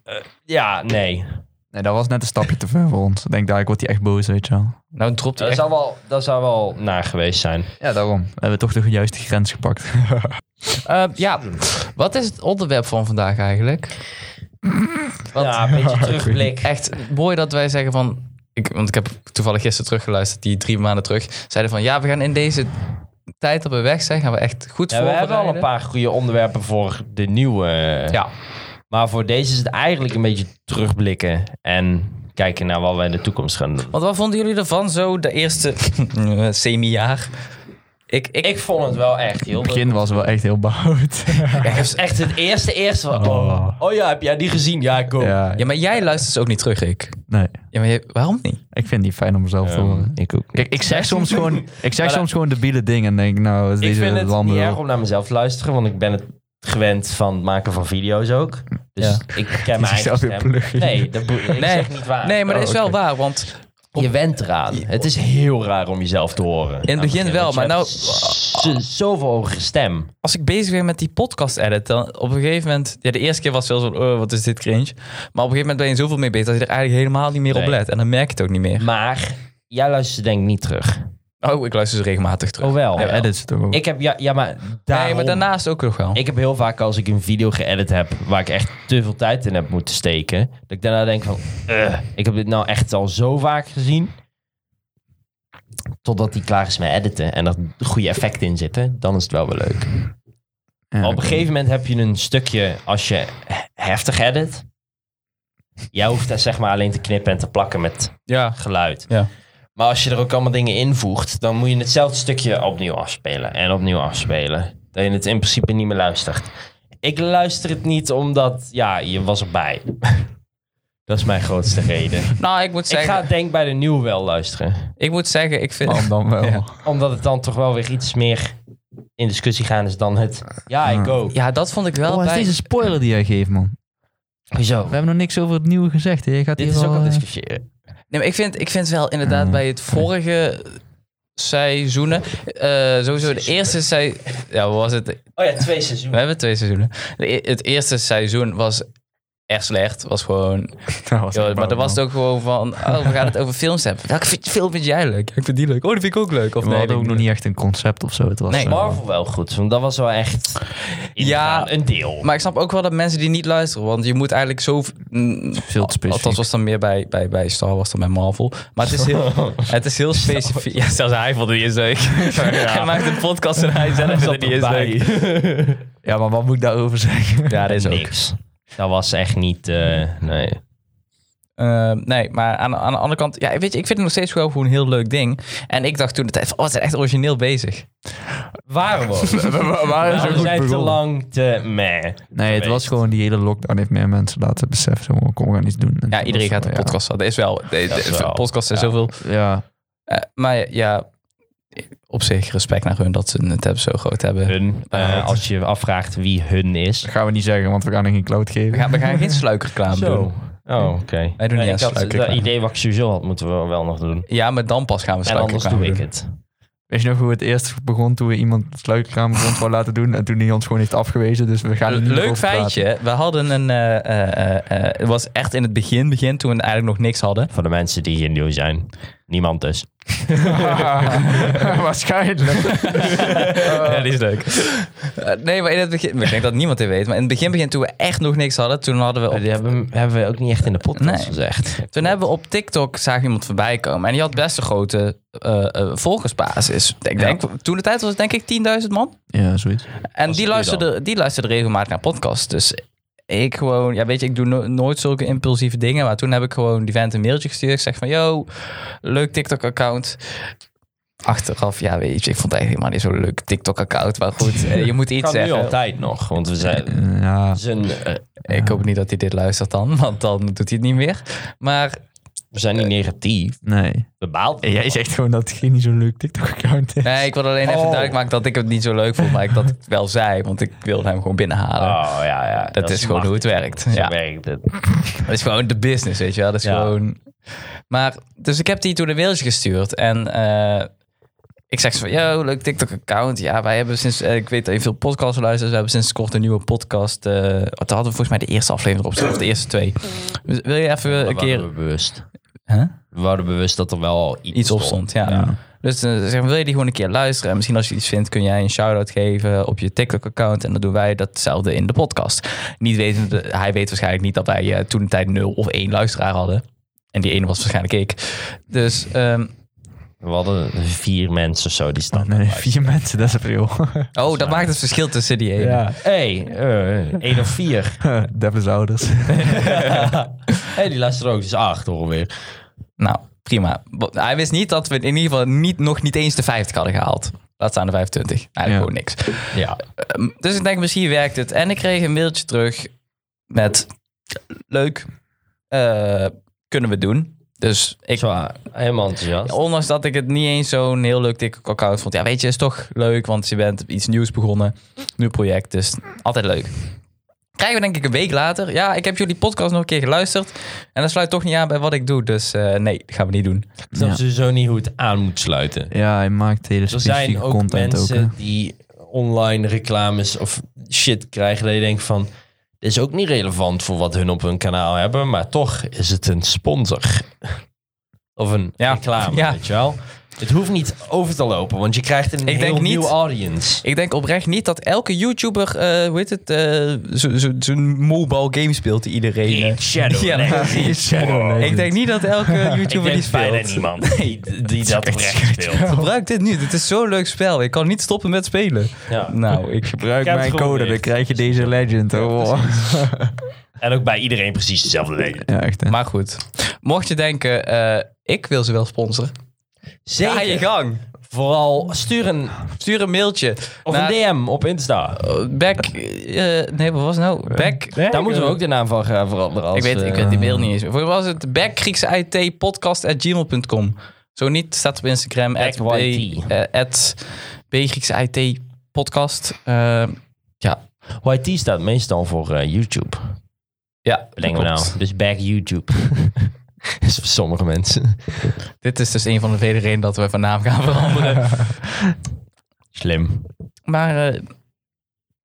[SPEAKER 3] nee.
[SPEAKER 2] Nee, dat was net een stapje te ver voor ons. Ik denk, daar wordt hij echt boos, weet je wel.
[SPEAKER 1] Nou dropt hij
[SPEAKER 3] Dat
[SPEAKER 1] echt...
[SPEAKER 3] zou wel, dat zou wel naar geweest zijn.
[SPEAKER 2] Ja, daarom. We hebben toch de juiste grens gepakt.
[SPEAKER 1] Eh, ja, wat is het onderwerp van vandaag eigenlijk? Want
[SPEAKER 3] Ja, een beetje terugblik.
[SPEAKER 1] echt mooi dat wij zeggen van... Ik, want ik heb toevallig gisteren teruggeluisterd, die drie maanden terug. Zeiden van, ja, we gaan in deze tijd dat we weg zijn, gaan we echt goed
[SPEAKER 3] Ja, we hebben al
[SPEAKER 1] voorbereiden.
[SPEAKER 3] een paar goede onderwerpen voor de nieuwe.
[SPEAKER 1] Ja,
[SPEAKER 3] Maar voor deze is het eigenlijk een beetje terugblikken. En kijken naar wat wij in de toekomst gaan doen.
[SPEAKER 1] want wat vonden jullie ervan zo, de eerste eh, semi-jaar? Ik, ik,
[SPEAKER 3] Ik vond het wel echt
[SPEAKER 2] In
[SPEAKER 3] heel
[SPEAKER 2] het begin was het wel echt heel behoud.
[SPEAKER 3] Ja, ik heb echt het eerste, eerste van... Oh,
[SPEAKER 2] Oh.
[SPEAKER 3] oh ja, heb jij die gezien? Ja, ik ook.
[SPEAKER 2] ja,
[SPEAKER 1] ja, maar jij luistert ze ook niet terug, ik.
[SPEAKER 2] nee.
[SPEAKER 1] Ja, maar jij- waarom niet?
[SPEAKER 2] Ik vind het niet fijn om mezelf te horen.
[SPEAKER 3] ik ook.
[SPEAKER 2] Kijk, ik zeg soms gewoon, ik zeg
[SPEAKER 3] Maar
[SPEAKER 2] soms gewoon debiele dingen en denk, nou, is
[SPEAKER 3] Ik
[SPEAKER 2] deze
[SPEAKER 3] vind het
[SPEAKER 2] landen.
[SPEAKER 3] niet erg om naar mezelf te luisteren, want ik ben het gewend van het maken van video's ook. Dus ik ken mijn eigen
[SPEAKER 2] zichzelf weer
[SPEAKER 3] stem.
[SPEAKER 2] pluggen.
[SPEAKER 3] Nee, dat boe- ik
[SPEAKER 1] Nee.
[SPEAKER 3] zeg niet waar.
[SPEAKER 1] Nee, maar dat is
[SPEAKER 2] Oh,
[SPEAKER 1] wel
[SPEAKER 2] oké.
[SPEAKER 1] waar, want
[SPEAKER 3] Je went eraan. Het is heel raar om jezelf te horen.
[SPEAKER 1] in het begin wel.
[SPEAKER 3] Want je
[SPEAKER 1] Maar nou,
[SPEAKER 3] hebt z- zoveel hogere stem.
[SPEAKER 1] als ik bezig ben met die podcast edit, dan op een gegeven moment... Ja, de eerste keer was het wel zo van, oh, wat is dit cringe? Maar op een gegeven moment ben je zoveel mee bezig dat je er eigenlijk helemaal niet meer op
[SPEAKER 3] Nee.
[SPEAKER 1] let. En dan merk je het ook niet meer.
[SPEAKER 3] Maar jij luistert denk ik niet terug.
[SPEAKER 1] Oh, ik luister ze regelmatig terug.
[SPEAKER 3] Oh wel.
[SPEAKER 2] Hij edit ze toch ook.
[SPEAKER 3] Ik heb, ja, ja maar daarom...
[SPEAKER 1] Nee, maar daarnaast ook nog wel.
[SPEAKER 3] Ik heb heel vaak als ik een video geëdit heb waar ik echt te veel tijd in heb moeten steken, dat ik daarna denk van, "Ugh, ik heb dit nou echt al zo vaak gezien. Totdat die klaar is met editen en er goede effecten in zitten, dan is het wel weer leuk.
[SPEAKER 2] Ja,
[SPEAKER 3] Op een gegeven moment heb je een stukje, als je he- heftig edit, jij hoeft daar zeg maar alleen te knippen en te plakken met
[SPEAKER 1] Ja.
[SPEAKER 3] geluid.
[SPEAKER 1] Ja.
[SPEAKER 3] Maar als je er ook allemaal dingen invoegt, dan moet je hetzelfde stukje opnieuw afspelen en opnieuw afspelen. Dat je het in principe niet meer luistert. Ik luister het niet omdat, ja, je was erbij. Dat is mijn grootste reden.
[SPEAKER 1] Nou, ik moet
[SPEAKER 3] Ik
[SPEAKER 1] zeggen,
[SPEAKER 3] ga
[SPEAKER 1] ik,
[SPEAKER 3] het denk bij de nieuw wel luisteren.
[SPEAKER 1] moet zeggen, ik vind...
[SPEAKER 2] man dan wel.
[SPEAKER 1] Ja.
[SPEAKER 3] Omdat het dan toch wel weer iets meer in discussie gaan is dan het, ja, ik ook.
[SPEAKER 1] Ja, dat vond ik wel
[SPEAKER 2] Oh, wat is
[SPEAKER 1] bij...
[SPEAKER 2] deze spoiler die jij geeft, man?
[SPEAKER 3] Hoezo?
[SPEAKER 2] We hebben nog niks over het nieuwe gezegd. hè? Je gaat
[SPEAKER 3] Dit
[SPEAKER 2] hier
[SPEAKER 3] is ook
[SPEAKER 2] wel,
[SPEAKER 3] al
[SPEAKER 2] eh,
[SPEAKER 3] discussiëren.
[SPEAKER 1] Nee, maar ik vind, ik vind wel inderdaad
[SPEAKER 2] Mm.
[SPEAKER 1] bij het vorige seizoenen, eh, sowieso de eerste seizoen, ja, wat was het?
[SPEAKER 3] Oh ja, twee
[SPEAKER 1] We
[SPEAKER 3] seizoenen.
[SPEAKER 1] hebben twee seizoenen. De e- het eerste seizoen was echt slecht, was gewoon,
[SPEAKER 2] dat was
[SPEAKER 1] joh,
[SPEAKER 2] echt
[SPEAKER 1] maar dan was het ook gewoon van, oh, we gaan het over films hebben. Welke fi- film vind jij leuk? Ja, ik vind die leuk. Oh, die vind ik ook leuk. Of
[SPEAKER 2] We
[SPEAKER 1] nee,
[SPEAKER 2] hadden ook
[SPEAKER 1] die-
[SPEAKER 2] nog niet echt een concept of zo. Het was,
[SPEAKER 1] Nee,
[SPEAKER 2] eh,
[SPEAKER 3] Marvel wel goed, want dat was wel echt
[SPEAKER 1] Ja,
[SPEAKER 3] ja, een deel.
[SPEAKER 1] Maar ik snap ook wel dat mensen die niet luisteren, want je moet eigenlijk zo... mm,
[SPEAKER 2] Veel te specifiek.
[SPEAKER 1] Althans was dan meer bij, bij, bij Star Wars dan bij Marvel. Maar het is heel, het is heel specifiek. Ja, zelfs hij vond het niet eens leuk. Hij maakt een podcast en hij zelf vond het niet eens leuk.
[SPEAKER 2] ja, maar wat moet ik daarover zeggen?
[SPEAKER 1] Ja, dat is ook.
[SPEAKER 3] Niks. Dat was echt niet. eh, nee.
[SPEAKER 1] Eh, nee, maar aan, aan de andere kant, ja, weet je, ik vind het nog steeds wel gewoon een heel leuk ding. En ik dacht toen de tijd van, oh, het is echt origineel bezig.
[SPEAKER 3] Waren we?
[SPEAKER 2] we,
[SPEAKER 3] we zijn te lang te meh.
[SPEAKER 2] Nee, het was gewoon die hele lockdown heeft meer mensen laten beseffen. Zo, "Oh, kom, we gaan iets doen. En
[SPEAKER 1] Ja,
[SPEAKER 2] toen
[SPEAKER 1] iedereen
[SPEAKER 2] was
[SPEAKER 1] gaat een
[SPEAKER 2] het wel,
[SPEAKER 1] podcast Dat is wel, de,
[SPEAKER 3] Dat is
[SPEAKER 1] de-
[SPEAKER 3] wel,
[SPEAKER 1] podcasts zijn
[SPEAKER 3] ja.
[SPEAKER 1] zoveel.
[SPEAKER 2] Ja,
[SPEAKER 1] eh, maar ja, op zich respect naar hun dat ze het hebben zo groot hebben.
[SPEAKER 3] Hun. eh, als je afvraagt wie hun is.
[SPEAKER 2] dat gaan we niet zeggen, want we gaan er geen cloud
[SPEAKER 1] We
[SPEAKER 2] geven.
[SPEAKER 1] gaan, we gaan geen sluikreclame doen.
[SPEAKER 3] Oh, oké.
[SPEAKER 1] Wij doen niet aan
[SPEAKER 3] Eh, ik had,
[SPEAKER 1] sluikreclame.
[SPEAKER 3] dat idee wat ik sowieso had, moeten we wel nog doen.
[SPEAKER 1] Ja, maar dan pas gaan we
[SPEAKER 3] En anders
[SPEAKER 1] sluikreclame
[SPEAKER 3] doe ik
[SPEAKER 1] doen.
[SPEAKER 3] het.
[SPEAKER 2] Weet je nog hoe het eerst begon toen we iemand het sluikraam rond wou laten doen en toen hij ons gewoon heeft afgewezen, dus we gaan er niet meer
[SPEAKER 1] Leuk
[SPEAKER 2] over praten.
[SPEAKER 1] feitje. We hadden een. eh, eh, eh, eh, het was echt in het begin, begin toen we eigenlijk nog niks hadden.
[SPEAKER 3] Voor de mensen die hier nieuw zijn. Niemand dus.
[SPEAKER 2] Waarschijnlijk.
[SPEAKER 1] ja, die is leuk. Eh, nee, maar in het begin. Ik denk dat niemand dit weet. Maar in het begin, begin toen we echt nog niks hadden, toen hadden we. Op,
[SPEAKER 3] Die hebben, hebben we ook niet echt in de podcast
[SPEAKER 1] Nee.
[SPEAKER 3] gezegd.
[SPEAKER 1] toen hebben we op TikTok zag iemand voorbij komen. En die had best een grote eh, eh, volgersbasis. Ik denk, toen de tijd was het denk ik 10.000 man.
[SPEAKER 2] Ja, zoiets.
[SPEAKER 1] En
[SPEAKER 3] Als
[SPEAKER 1] die
[SPEAKER 3] het nu
[SPEAKER 1] luisterde, die luisterde regelmatig naar podcasts. Dus ik gewoon, ja weet je, ik doe no- nooit zulke impulsieve dingen. Maar toen heb ik gewoon die vent een mailtje gestuurd. Ik zeg van, yo, leuk TikTok-account. Achteraf, ja weet je, ik vond het eigenlijk helemaal niet zo'n leuk TikTok-account. Maar goed, eh, je moet iets
[SPEAKER 3] Kan nu
[SPEAKER 1] zeggen.
[SPEAKER 3] altijd nog, want we zijn...
[SPEAKER 2] Ja,
[SPEAKER 3] zijn, eh,
[SPEAKER 1] Ik hoop niet dat hij dit luistert dan, want dan doet hij het niet meer. Maar
[SPEAKER 3] we zijn niet negatief.
[SPEAKER 2] nee.
[SPEAKER 3] We baalden.
[SPEAKER 2] Jij zegt gewoon dat het niet zo'n leuk TikTok-account is.
[SPEAKER 1] nee, ik wil alleen even
[SPEAKER 3] Oh.
[SPEAKER 1] duidelijk maken dat ik het niet zo leuk vond. Maar ik dat ik het wel zei, want ik wilde hem gewoon binnenhalen.
[SPEAKER 3] Oh ja, ja.
[SPEAKER 1] Ah, Dat, is gewoon hoe het werkt.
[SPEAKER 3] Ja.
[SPEAKER 1] Ja.
[SPEAKER 3] werkt het.
[SPEAKER 1] Dat is gewoon de business, weet je wel. Dat is
[SPEAKER 3] Ja.
[SPEAKER 1] gewoon... Maar, dus ik heb die toen een mailtje gestuurd. En eh, ik zeg zo van, yo, leuk TikTok-account. Ja, wij hebben sinds... eh, ik weet dat je veel podcasts luistert. We hebben sinds kort een nieuwe podcast. eh toen hadden we volgens mij de eerste aflevering op of de eerste twee. Dus wil je even een
[SPEAKER 3] Maar
[SPEAKER 1] keer...
[SPEAKER 3] waren we bewust.
[SPEAKER 1] Huh?
[SPEAKER 3] We waren bewust dat er wel iets,
[SPEAKER 1] Iets op stond, ja.
[SPEAKER 2] Ja.
[SPEAKER 1] Dus eh, ze zeggen, wil je die gewoon een keer luisteren? En misschien als je iets vindt, kun jij een shout-out geven op je TikTok-account. En dan doen wij datzelfde in de podcast. Niet wetende, hij weet waarschijnlijk niet dat wij eh, toen de tijd 0 of 1 luisteraar hadden. En die ene was waarschijnlijk ik. Dus ehm,
[SPEAKER 3] We hadden vier mensen of zo die
[SPEAKER 2] Oh,
[SPEAKER 3] staan.
[SPEAKER 2] nee, vier mensen, dat is april.
[SPEAKER 1] oh, dat maakt het verschil tussen die ene.
[SPEAKER 2] ja,
[SPEAKER 3] Hé, hey, eh, één of vier.
[SPEAKER 2] Devils ouders.
[SPEAKER 3] hey, die luisteren ook. Dus acht horen weer.
[SPEAKER 1] Nou, prima. Wa- Hij wist niet dat we in ieder geval niet, nog niet eens de 50 hadden gehaald. Laat staan de 25. Eigenlijk
[SPEAKER 2] Ja.
[SPEAKER 1] gewoon niks.
[SPEAKER 3] Ja.
[SPEAKER 1] Ehm, dus ik denk, misschien werkt het. En ik kreeg een mailtje terug met... Leuk. eh, kunnen we doen. Dus ik...
[SPEAKER 3] Zwaar. eh, Helemaal enthousiast.
[SPEAKER 1] Ondanks dat ik het niet eens zo'n heel leuk dik account vond. Ja, weet je, is toch leuk, want je bent iets nieuws begonnen. Nieuw project, dus altijd leuk. Krijgen we denk ik een week later. Ja, ik heb jullie podcast nog een keer geluisterd. En dat sluit toch niet aan bij wat ik doe. Dus eh, nee, dat gaan we niet doen.
[SPEAKER 3] Ik snap sowieso niet hoe het aan moet sluiten.
[SPEAKER 2] Ja, hij maakt hele
[SPEAKER 3] Er
[SPEAKER 2] specifieke
[SPEAKER 3] zijn ook
[SPEAKER 2] content ook.
[SPEAKER 3] mensen
[SPEAKER 2] hè.
[SPEAKER 3] die online reclames of shit krijgen. Dat je denkt van, dit is ook niet relevant voor wat hun op hun kanaal hebben. Maar toch is het een sponsor. Of een
[SPEAKER 1] Ja.
[SPEAKER 3] reclame,
[SPEAKER 1] Ja.
[SPEAKER 3] weet je wel. Het hoeft niet over te lopen, want je krijgt een
[SPEAKER 1] Ik
[SPEAKER 3] heel
[SPEAKER 1] denk niet-
[SPEAKER 3] nieuwe audience.
[SPEAKER 1] Ik denk oprecht niet dat elke YouTuber, eh hoe heet het, eh, zo- zo- zo'n mobile game speelt die iedereen... eh,
[SPEAKER 3] In Shadow
[SPEAKER 1] Ja,
[SPEAKER 3] Legends.
[SPEAKER 1] nee. Ik denk niet dat elke YouTuber die speelt.
[SPEAKER 3] niemand die, die dat oprecht speelt.
[SPEAKER 1] Gebruik dit nu, dit is zo'n leuk spel. Ik kan niet stoppen met spelen.
[SPEAKER 3] Ja.
[SPEAKER 1] Nou, ik
[SPEAKER 2] Gebruik
[SPEAKER 3] Ik heb het
[SPEAKER 2] mijn code, dan
[SPEAKER 3] geprobeerd.
[SPEAKER 2] krijg je deze legend. Oh, wow.
[SPEAKER 3] En ook bij iedereen precies dezelfde reden.
[SPEAKER 2] Ja, echt hè.
[SPEAKER 1] Maar goed, mocht je denken, eh, ik wil ze wel sponsoren. Ga je
[SPEAKER 3] Zeker.
[SPEAKER 1] gang.
[SPEAKER 3] Vooral stuur een,
[SPEAKER 1] Stuur een mailtje.
[SPEAKER 3] of
[SPEAKER 1] naar,
[SPEAKER 3] een DM op Insta.
[SPEAKER 1] eh, Back. eh, nee, wat was het nou? Back.
[SPEAKER 3] Daar moeten we ook de naam van gaan veranderen. Als,
[SPEAKER 1] ik, weet, ik
[SPEAKER 3] eh,
[SPEAKER 1] weet die mail niet eens. meer. Voor was het back Griekse IT podcast at gmail.com. Zo niet, staat op Instagram. At,
[SPEAKER 3] Back
[SPEAKER 1] B,
[SPEAKER 3] YT.
[SPEAKER 1] eh, at B Griekse IT podcast. Eh,
[SPEAKER 3] YT staat meestal voor eh, YouTube.
[SPEAKER 1] ja,
[SPEAKER 3] Denken we
[SPEAKER 1] klopt.
[SPEAKER 3] nou. Dus back YouTube. Is voor sommige mensen.
[SPEAKER 1] Dit is dus een van de vele redenen dat we van naam gaan veranderen.
[SPEAKER 3] Slim.
[SPEAKER 1] Maar eh,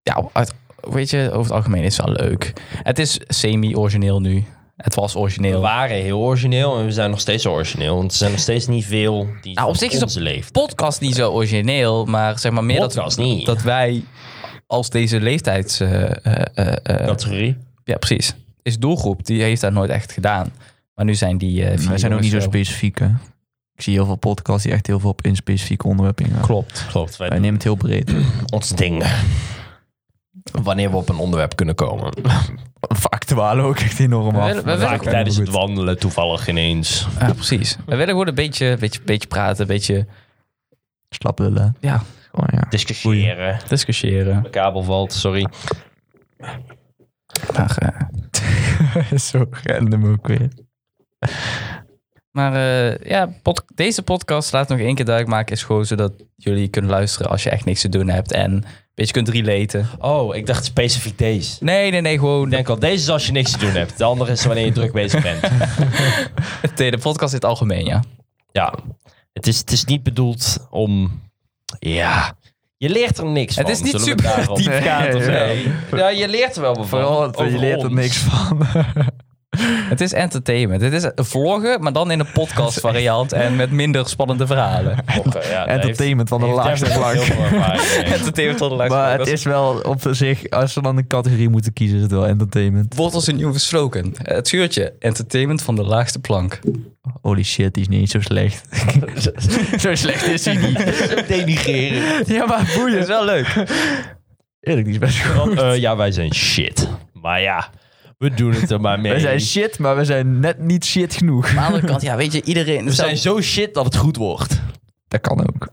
[SPEAKER 1] ja, uit- weet je, over het algemeen is het wel leuk. Het is semi-origineel nu. Het was
[SPEAKER 3] We
[SPEAKER 1] origineel.
[SPEAKER 3] waren heel origineel en we zijn nog steeds origineel. Want er zijn nog steeds niet veel die
[SPEAKER 1] Nou, op
[SPEAKER 3] van
[SPEAKER 1] zich is op-
[SPEAKER 3] onze leeft.
[SPEAKER 1] Podcast niet zo origineel, maar zeg maar meer dat,
[SPEAKER 3] Podcast niet.
[SPEAKER 1] dat wij als deze leeftijds... eh, eh, eh, eh,
[SPEAKER 3] Categorie.
[SPEAKER 1] ja, precies. Is doelgroep, die heeft dat nooit echt gedaan. Maar nu zijn die... eh vier
[SPEAKER 2] Wij zijn
[SPEAKER 1] jongens
[SPEAKER 2] ook niet zo
[SPEAKER 1] wel-
[SPEAKER 2] specifiek, hè. Ik zie heel veel podcasts die echt heel veel op een specifiek onderwerp ingaan.
[SPEAKER 3] Klopt. Klopt. Wij,
[SPEAKER 2] Wij nemen het heel breed.
[SPEAKER 3] doen ons ding. Wanneer we op een onderwerp kunnen komen.
[SPEAKER 2] Factualen ook echt enorm
[SPEAKER 1] We
[SPEAKER 2] af.
[SPEAKER 1] willen- we willen-
[SPEAKER 3] Vaak tijdens het wandelen toevallig ineens.
[SPEAKER 1] Ja, Ah, precies. We willen gewoon een beetje, beetje, beetje praten, een beetje
[SPEAKER 2] Slap lullen.
[SPEAKER 1] Ja.
[SPEAKER 2] Gewoon, ja.
[SPEAKER 3] Discussiëren.
[SPEAKER 1] discussiëren.
[SPEAKER 3] De kabel valt, sorry.
[SPEAKER 1] Maar, eh,
[SPEAKER 2] Zo random ook weer.
[SPEAKER 1] maar eh, ja, pod- deze podcast, laat het nog één keer duidelijk maken, is gewoon zodat jullie kunnen luisteren als je echt niks te doen hebt en een beetje kunt relaten.
[SPEAKER 3] Oh, ik dacht specifiek deze.
[SPEAKER 1] Nee, nee, nee, gewoon
[SPEAKER 3] Ik denk al, deze is als je niks te doen hebt. De andere is wanneer je druk bezig bent.
[SPEAKER 1] Nee, de podcast in het algemeen, ja.
[SPEAKER 3] Ja, het is, het is niet bedoeld om... Ja, je leert er niks van.
[SPEAKER 1] Het is niet
[SPEAKER 3] Zullen we
[SPEAKER 1] super
[SPEAKER 3] daarop-
[SPEAKER 2] diepgaand of zo.
[SPEAKER 3] Nee. Ja, je leert er wel van.
[SPEAKER 2] Vooral,
[SPEAKER 3] Over
[SPEAKER 2] je leert er
[SPEAKER 3] ons.
[SPEAKER 2] niks van.
[SPEAKER 1] Het is entertainment. Het is vloggen, maar dan in een podcast variant en met minder spannende verhalen.
[SPEAKER 3] Oké, ja, dat
[SPEAKER 2] Entertainment van de
[SPEAKER 3] heeft- heeft
[SPEAKER 2] laagste
[SPEAKER 3] definitely
[SPEAKER 2] vlak.
[SPEAKER 3] heel veel ervaring.
[SPEAKER 1] entertainment tot de
[SPEAKER 2] Maar het is wel op zich, als we dan een categorie moeten kiezen, is het wel entertainment.
[SPEAKER 1] Wordt als een nieuwe slogan. Het schuurtje. Entertainment van de laagste plank.
[SPEAKER 2] Holy shit, die is niet eens zo slecht. zo slecht is hij niet.
[SPEAKER 3] Denigreren.
[SPEAKER 2] ja, maar boeien.
[SPEAKER 1] Dat is wel leuk.
[SPEAKER 2] Eerlijk, die is best goed.
[SPEAKER 3] Want, eh, ja, wij zijn shit. Maar ja, we doen het er maar mee.
[SPEAKER 2] Wij zijn shit, maar we zijn net niet shit genoeg.
[SPEAKER 1] Aan de andere kant, ja, weet je, iedereen...
[SPEAKER 3] we zijn zo shit dat het goed wordt.
[SPEAKER 2] Dat kan ook.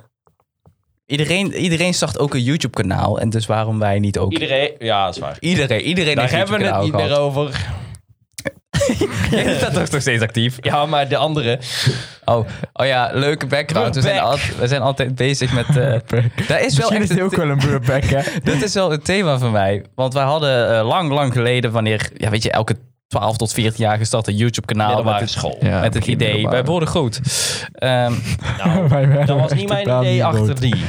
[SPEAKER 1] Iedereen, iedereen start ook een YouTube-kanaal. En dus waarom wij niet ook...
[SPEAKER 3] Iedereen, ja, dat is waar.
[SPEAKER 1] Iedereen, iedereen
[SPEAKER 3] Daar
[SPEAKER 1] heeft
[SPEAKER 3] hebben we het niet meer over.
[SPEAKER 1] over. Dat is toch steeds actief?
[SPEAKER 3] Ja, maar de andere.
[SPEAKER 1] Oh, oh ja, leuke background. We zijn,
[SPEAKER 3] We're back.
[SPEAKER 1] al- we zijn altijd bezig met... eh daar is wel
[SPEAKER 2] Misschien
[SPEAKER 1] echt
[SPEAKER 2] is het
[SPEAKER 1] een-
[SPEAKER 2] ook wel een burpback, hè?
[SPEAKER 1] Dit is wel het thema van mij. Want wij hadden eh, lang, lang geleden, wanneer, ja, weet je, elke 12 tot 14 jaar gestart een YouTube-kanaal. Met
[SPEAKER 3] Middelbare
[SPEAKER 1] het,
[SPEAKER 3] school.
[SPEAKER 2] Ja,
[SPEAKER 1] met het
[SPEAKER 2] begin
[SPEAKER 1] idee,
[SPEAKER 2] middelbare.
[SPEAKER 1] wij worden groot. Ehm,
[SPEAKER 3] Nou,
[SPEAKER 2] Wij waren
[SPEAKER 3] dat was niet
[SPEAKER 2] echt
[SPEAKER 3] mijn
[SPEAKER 2] totaal niet
[SPEAKER 3] idee achter
[SPEAKER 2] groot.
[SPEAKER 3] die.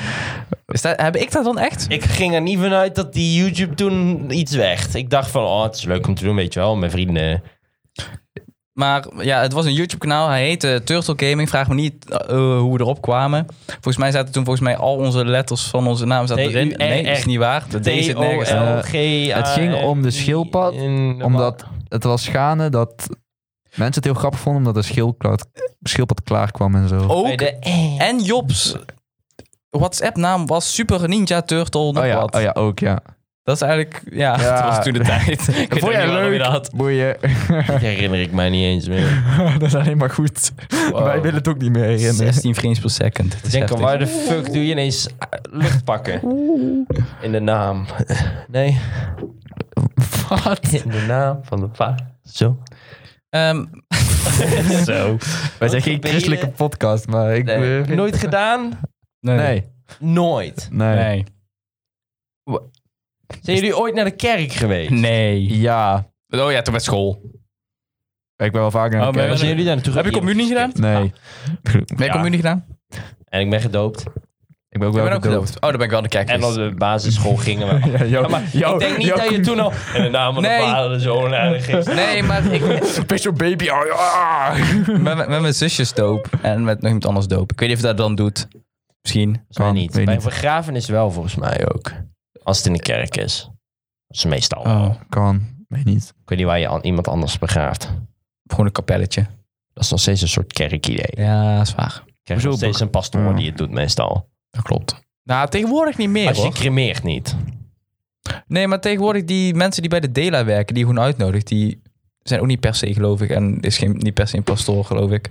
[SPEAKER 1] is dat, heb ik dat dan echt?
[SPEAKER 3] Ik ging er niet vanuit dat die YouTube toen iets werd. Ik dacht van, oh, het is leuk om te doen, weet je wel, met vrienden.
[SPEAKER 1] Maar ja, het was een YouTube-kanaal. Hij heette Turtle Gaming. Vraag me niet eh, eh, hoe we erop kwamen. Volgens mij zaten toen volgens mij al onze letters van onze naam zaten erin. Nee,
[SPEAKER 3] T-U-R-R.
[SPEAKER 1] is niet waar. De D zit nergens.
[SPEAKER 2] T-O-L.
[SPEAKER 1] aan.
[SPEAKER 2] Eh, Het ging om de schildpad, Omdat het was schade dat mensen het heel grappig vonden omdat de schildpad, schildpad klaar kwam en zo.
[SPEAKER 1] Ook. En Jobs WhatsApp-naam was Super Ninja Turtle. nog
[SPEAKER 2] oh, ja,
[SPEAKER 1] wat.
[SPEAKER 2] oh ja, ook ja.
[SPEAKER 1] Dat is eigenlijk, ja,
[SPEAKER 2] Ja.
[SPEAKER 1] dat was toen de tijd. Ik weet
[SPEAKER 2] Vond
[SPEAKER 1] ook
[SPEAKER 2] jij
[SPEAKER 3] E.
[SPEAKER 1] niet waarom je
[SPEAKER 2] leuk?
[SPEAKER 1] dat had.
[SPEAKER 2] Boeien.
[SPEAKER 3] Dat herinner ik mij niet eens meer.
[SPEAKER 2] dat is alleen maar goed. Wij willen het ook niet meer herinneren.
[SPEAKER 1] 16 frames per second. Dat
[SPEAKER 3] Ik
[SPEAKER 1] is
[SPEAKER 3] denk
[SPEAKER 1] heftig.
[SPEAKER 3] al, waar de fuck doe je ineens eh, lucht pakken? In de naam. Nee. Wat? In de naam van de pa. Zo.
[SPEAKER 1] Ehm,
[SPEAKER 3] Zo.
[SPEAKER 2] Wij zijn geen
[SPEAKER 3] ben je-
[SPEAKER 2] christelijke podcast, maar ik...
[SPEAKER 3] Nee.
[SPEAKER 2] eh,
[SPEAKER 3] Nooit gedaan?
[SPEAKER 1] nee, nee.
[SPEAKER 2] Nee.
[SPEAKER 3] Nooit.
[SPEAKER 2] Nee.
[SPEAKER 1] Nee.
[SPEAKER 3] Zijn jullie ooit naar de kerk geweest?
[SPEAKER 1] Nee.
[SPEAKER 2] Ja.
[SPEAKER 1] Oh ja, toen met school.
[SPEAKER 2] Ik ben wel vaker naar
[SPEAKER 1] Oh,
[SPEAKER 2] de
[SPEAKER 1] maar-
[SPEAKER 2] kerk.
[SPEAKER 3] Zijn jullie daar naartoe
[SPEAKER 1] Heb je
[SPEAKER 3] gegaan?
[SPEAKER 1] communie gedaan?
[SPEAKER 2] Nee.
[SPEAKER 1] Ben je
[SPEAKER 3] Ja.
[SPEAKER 1] communie gedaan?
[SPEAKER 3] En ik ben gedoopt. Dus-
[SPEAKER 2] Ik ben ook
[SPEAKER 1] Ik
[SPEAKER 2] wel
[SPEAKER 1] ben ook gedoopt. Oh, dan ben ik wel aan de kerk
[SPEAKER 3] En op
[SPEAKER 1] geweest.
[SPEAKER 3] de basisschool gingen we.
[SPEAKER 2] Ja, jou,
[SPEAKER 3] Ja, maar ik denk niet dat je toen al... En de naam van
[SPEAKER 1] Nee.
[SPEAKER 3] de vader en zoon en gisteren.
[SPEAKER 1] Nee, maar ik
[SPEAKER 2] Special baby. Oh, ja.
[SPEAKER 1] met, met mijn zusjes doop en met nog iemand anders doop. Ik weet niet of dat dan doet. Misschien.
[SPEAKER 3] Kan, niet.
[SPEAKER 2] weet
[SPEAKER 3] Bij
[SPEAKER 2] niet.
[SPEAKER 3] begrafenis wel, volgens mij ook. Als het in de kerk is. Dat is meestal.
[SPEAKER 1] Oh,
[SPEAKER 2] Kan. Weet niet.
[SPEAKER 3] Ik weet niet waar je an- iemand anders begraaft.
[SPEAKER 1] gewoon een kapelletje.
[SPEAKER 3] Dat is nog steeds een soort kerkidee. Ik
[SPEAKER 1] Ja, is waar.
[SPEAKER 3] krijg nog
[SPEAKER 2] Hoezo
[SPEAKER 3] steeds een pastoor
[SPEAKER 2] Ja.
[SPEAKER 3] die het doet meestal.
[SPEAKER 1] Dat klopt. Nou, tegenwoordig niet meer
[SPEAKER 3] Als je
[SPEAKER 1] hoor.
[SPEAKER 3] cremeert niet.
[SPEAKER 1] Nee, maar tegenwoordig die mensen die bij de Dela werken, die je gewoon uitnodigt, die zijn ook niet per se gelovig en is geen, niet per se een pastoor, geloof ik.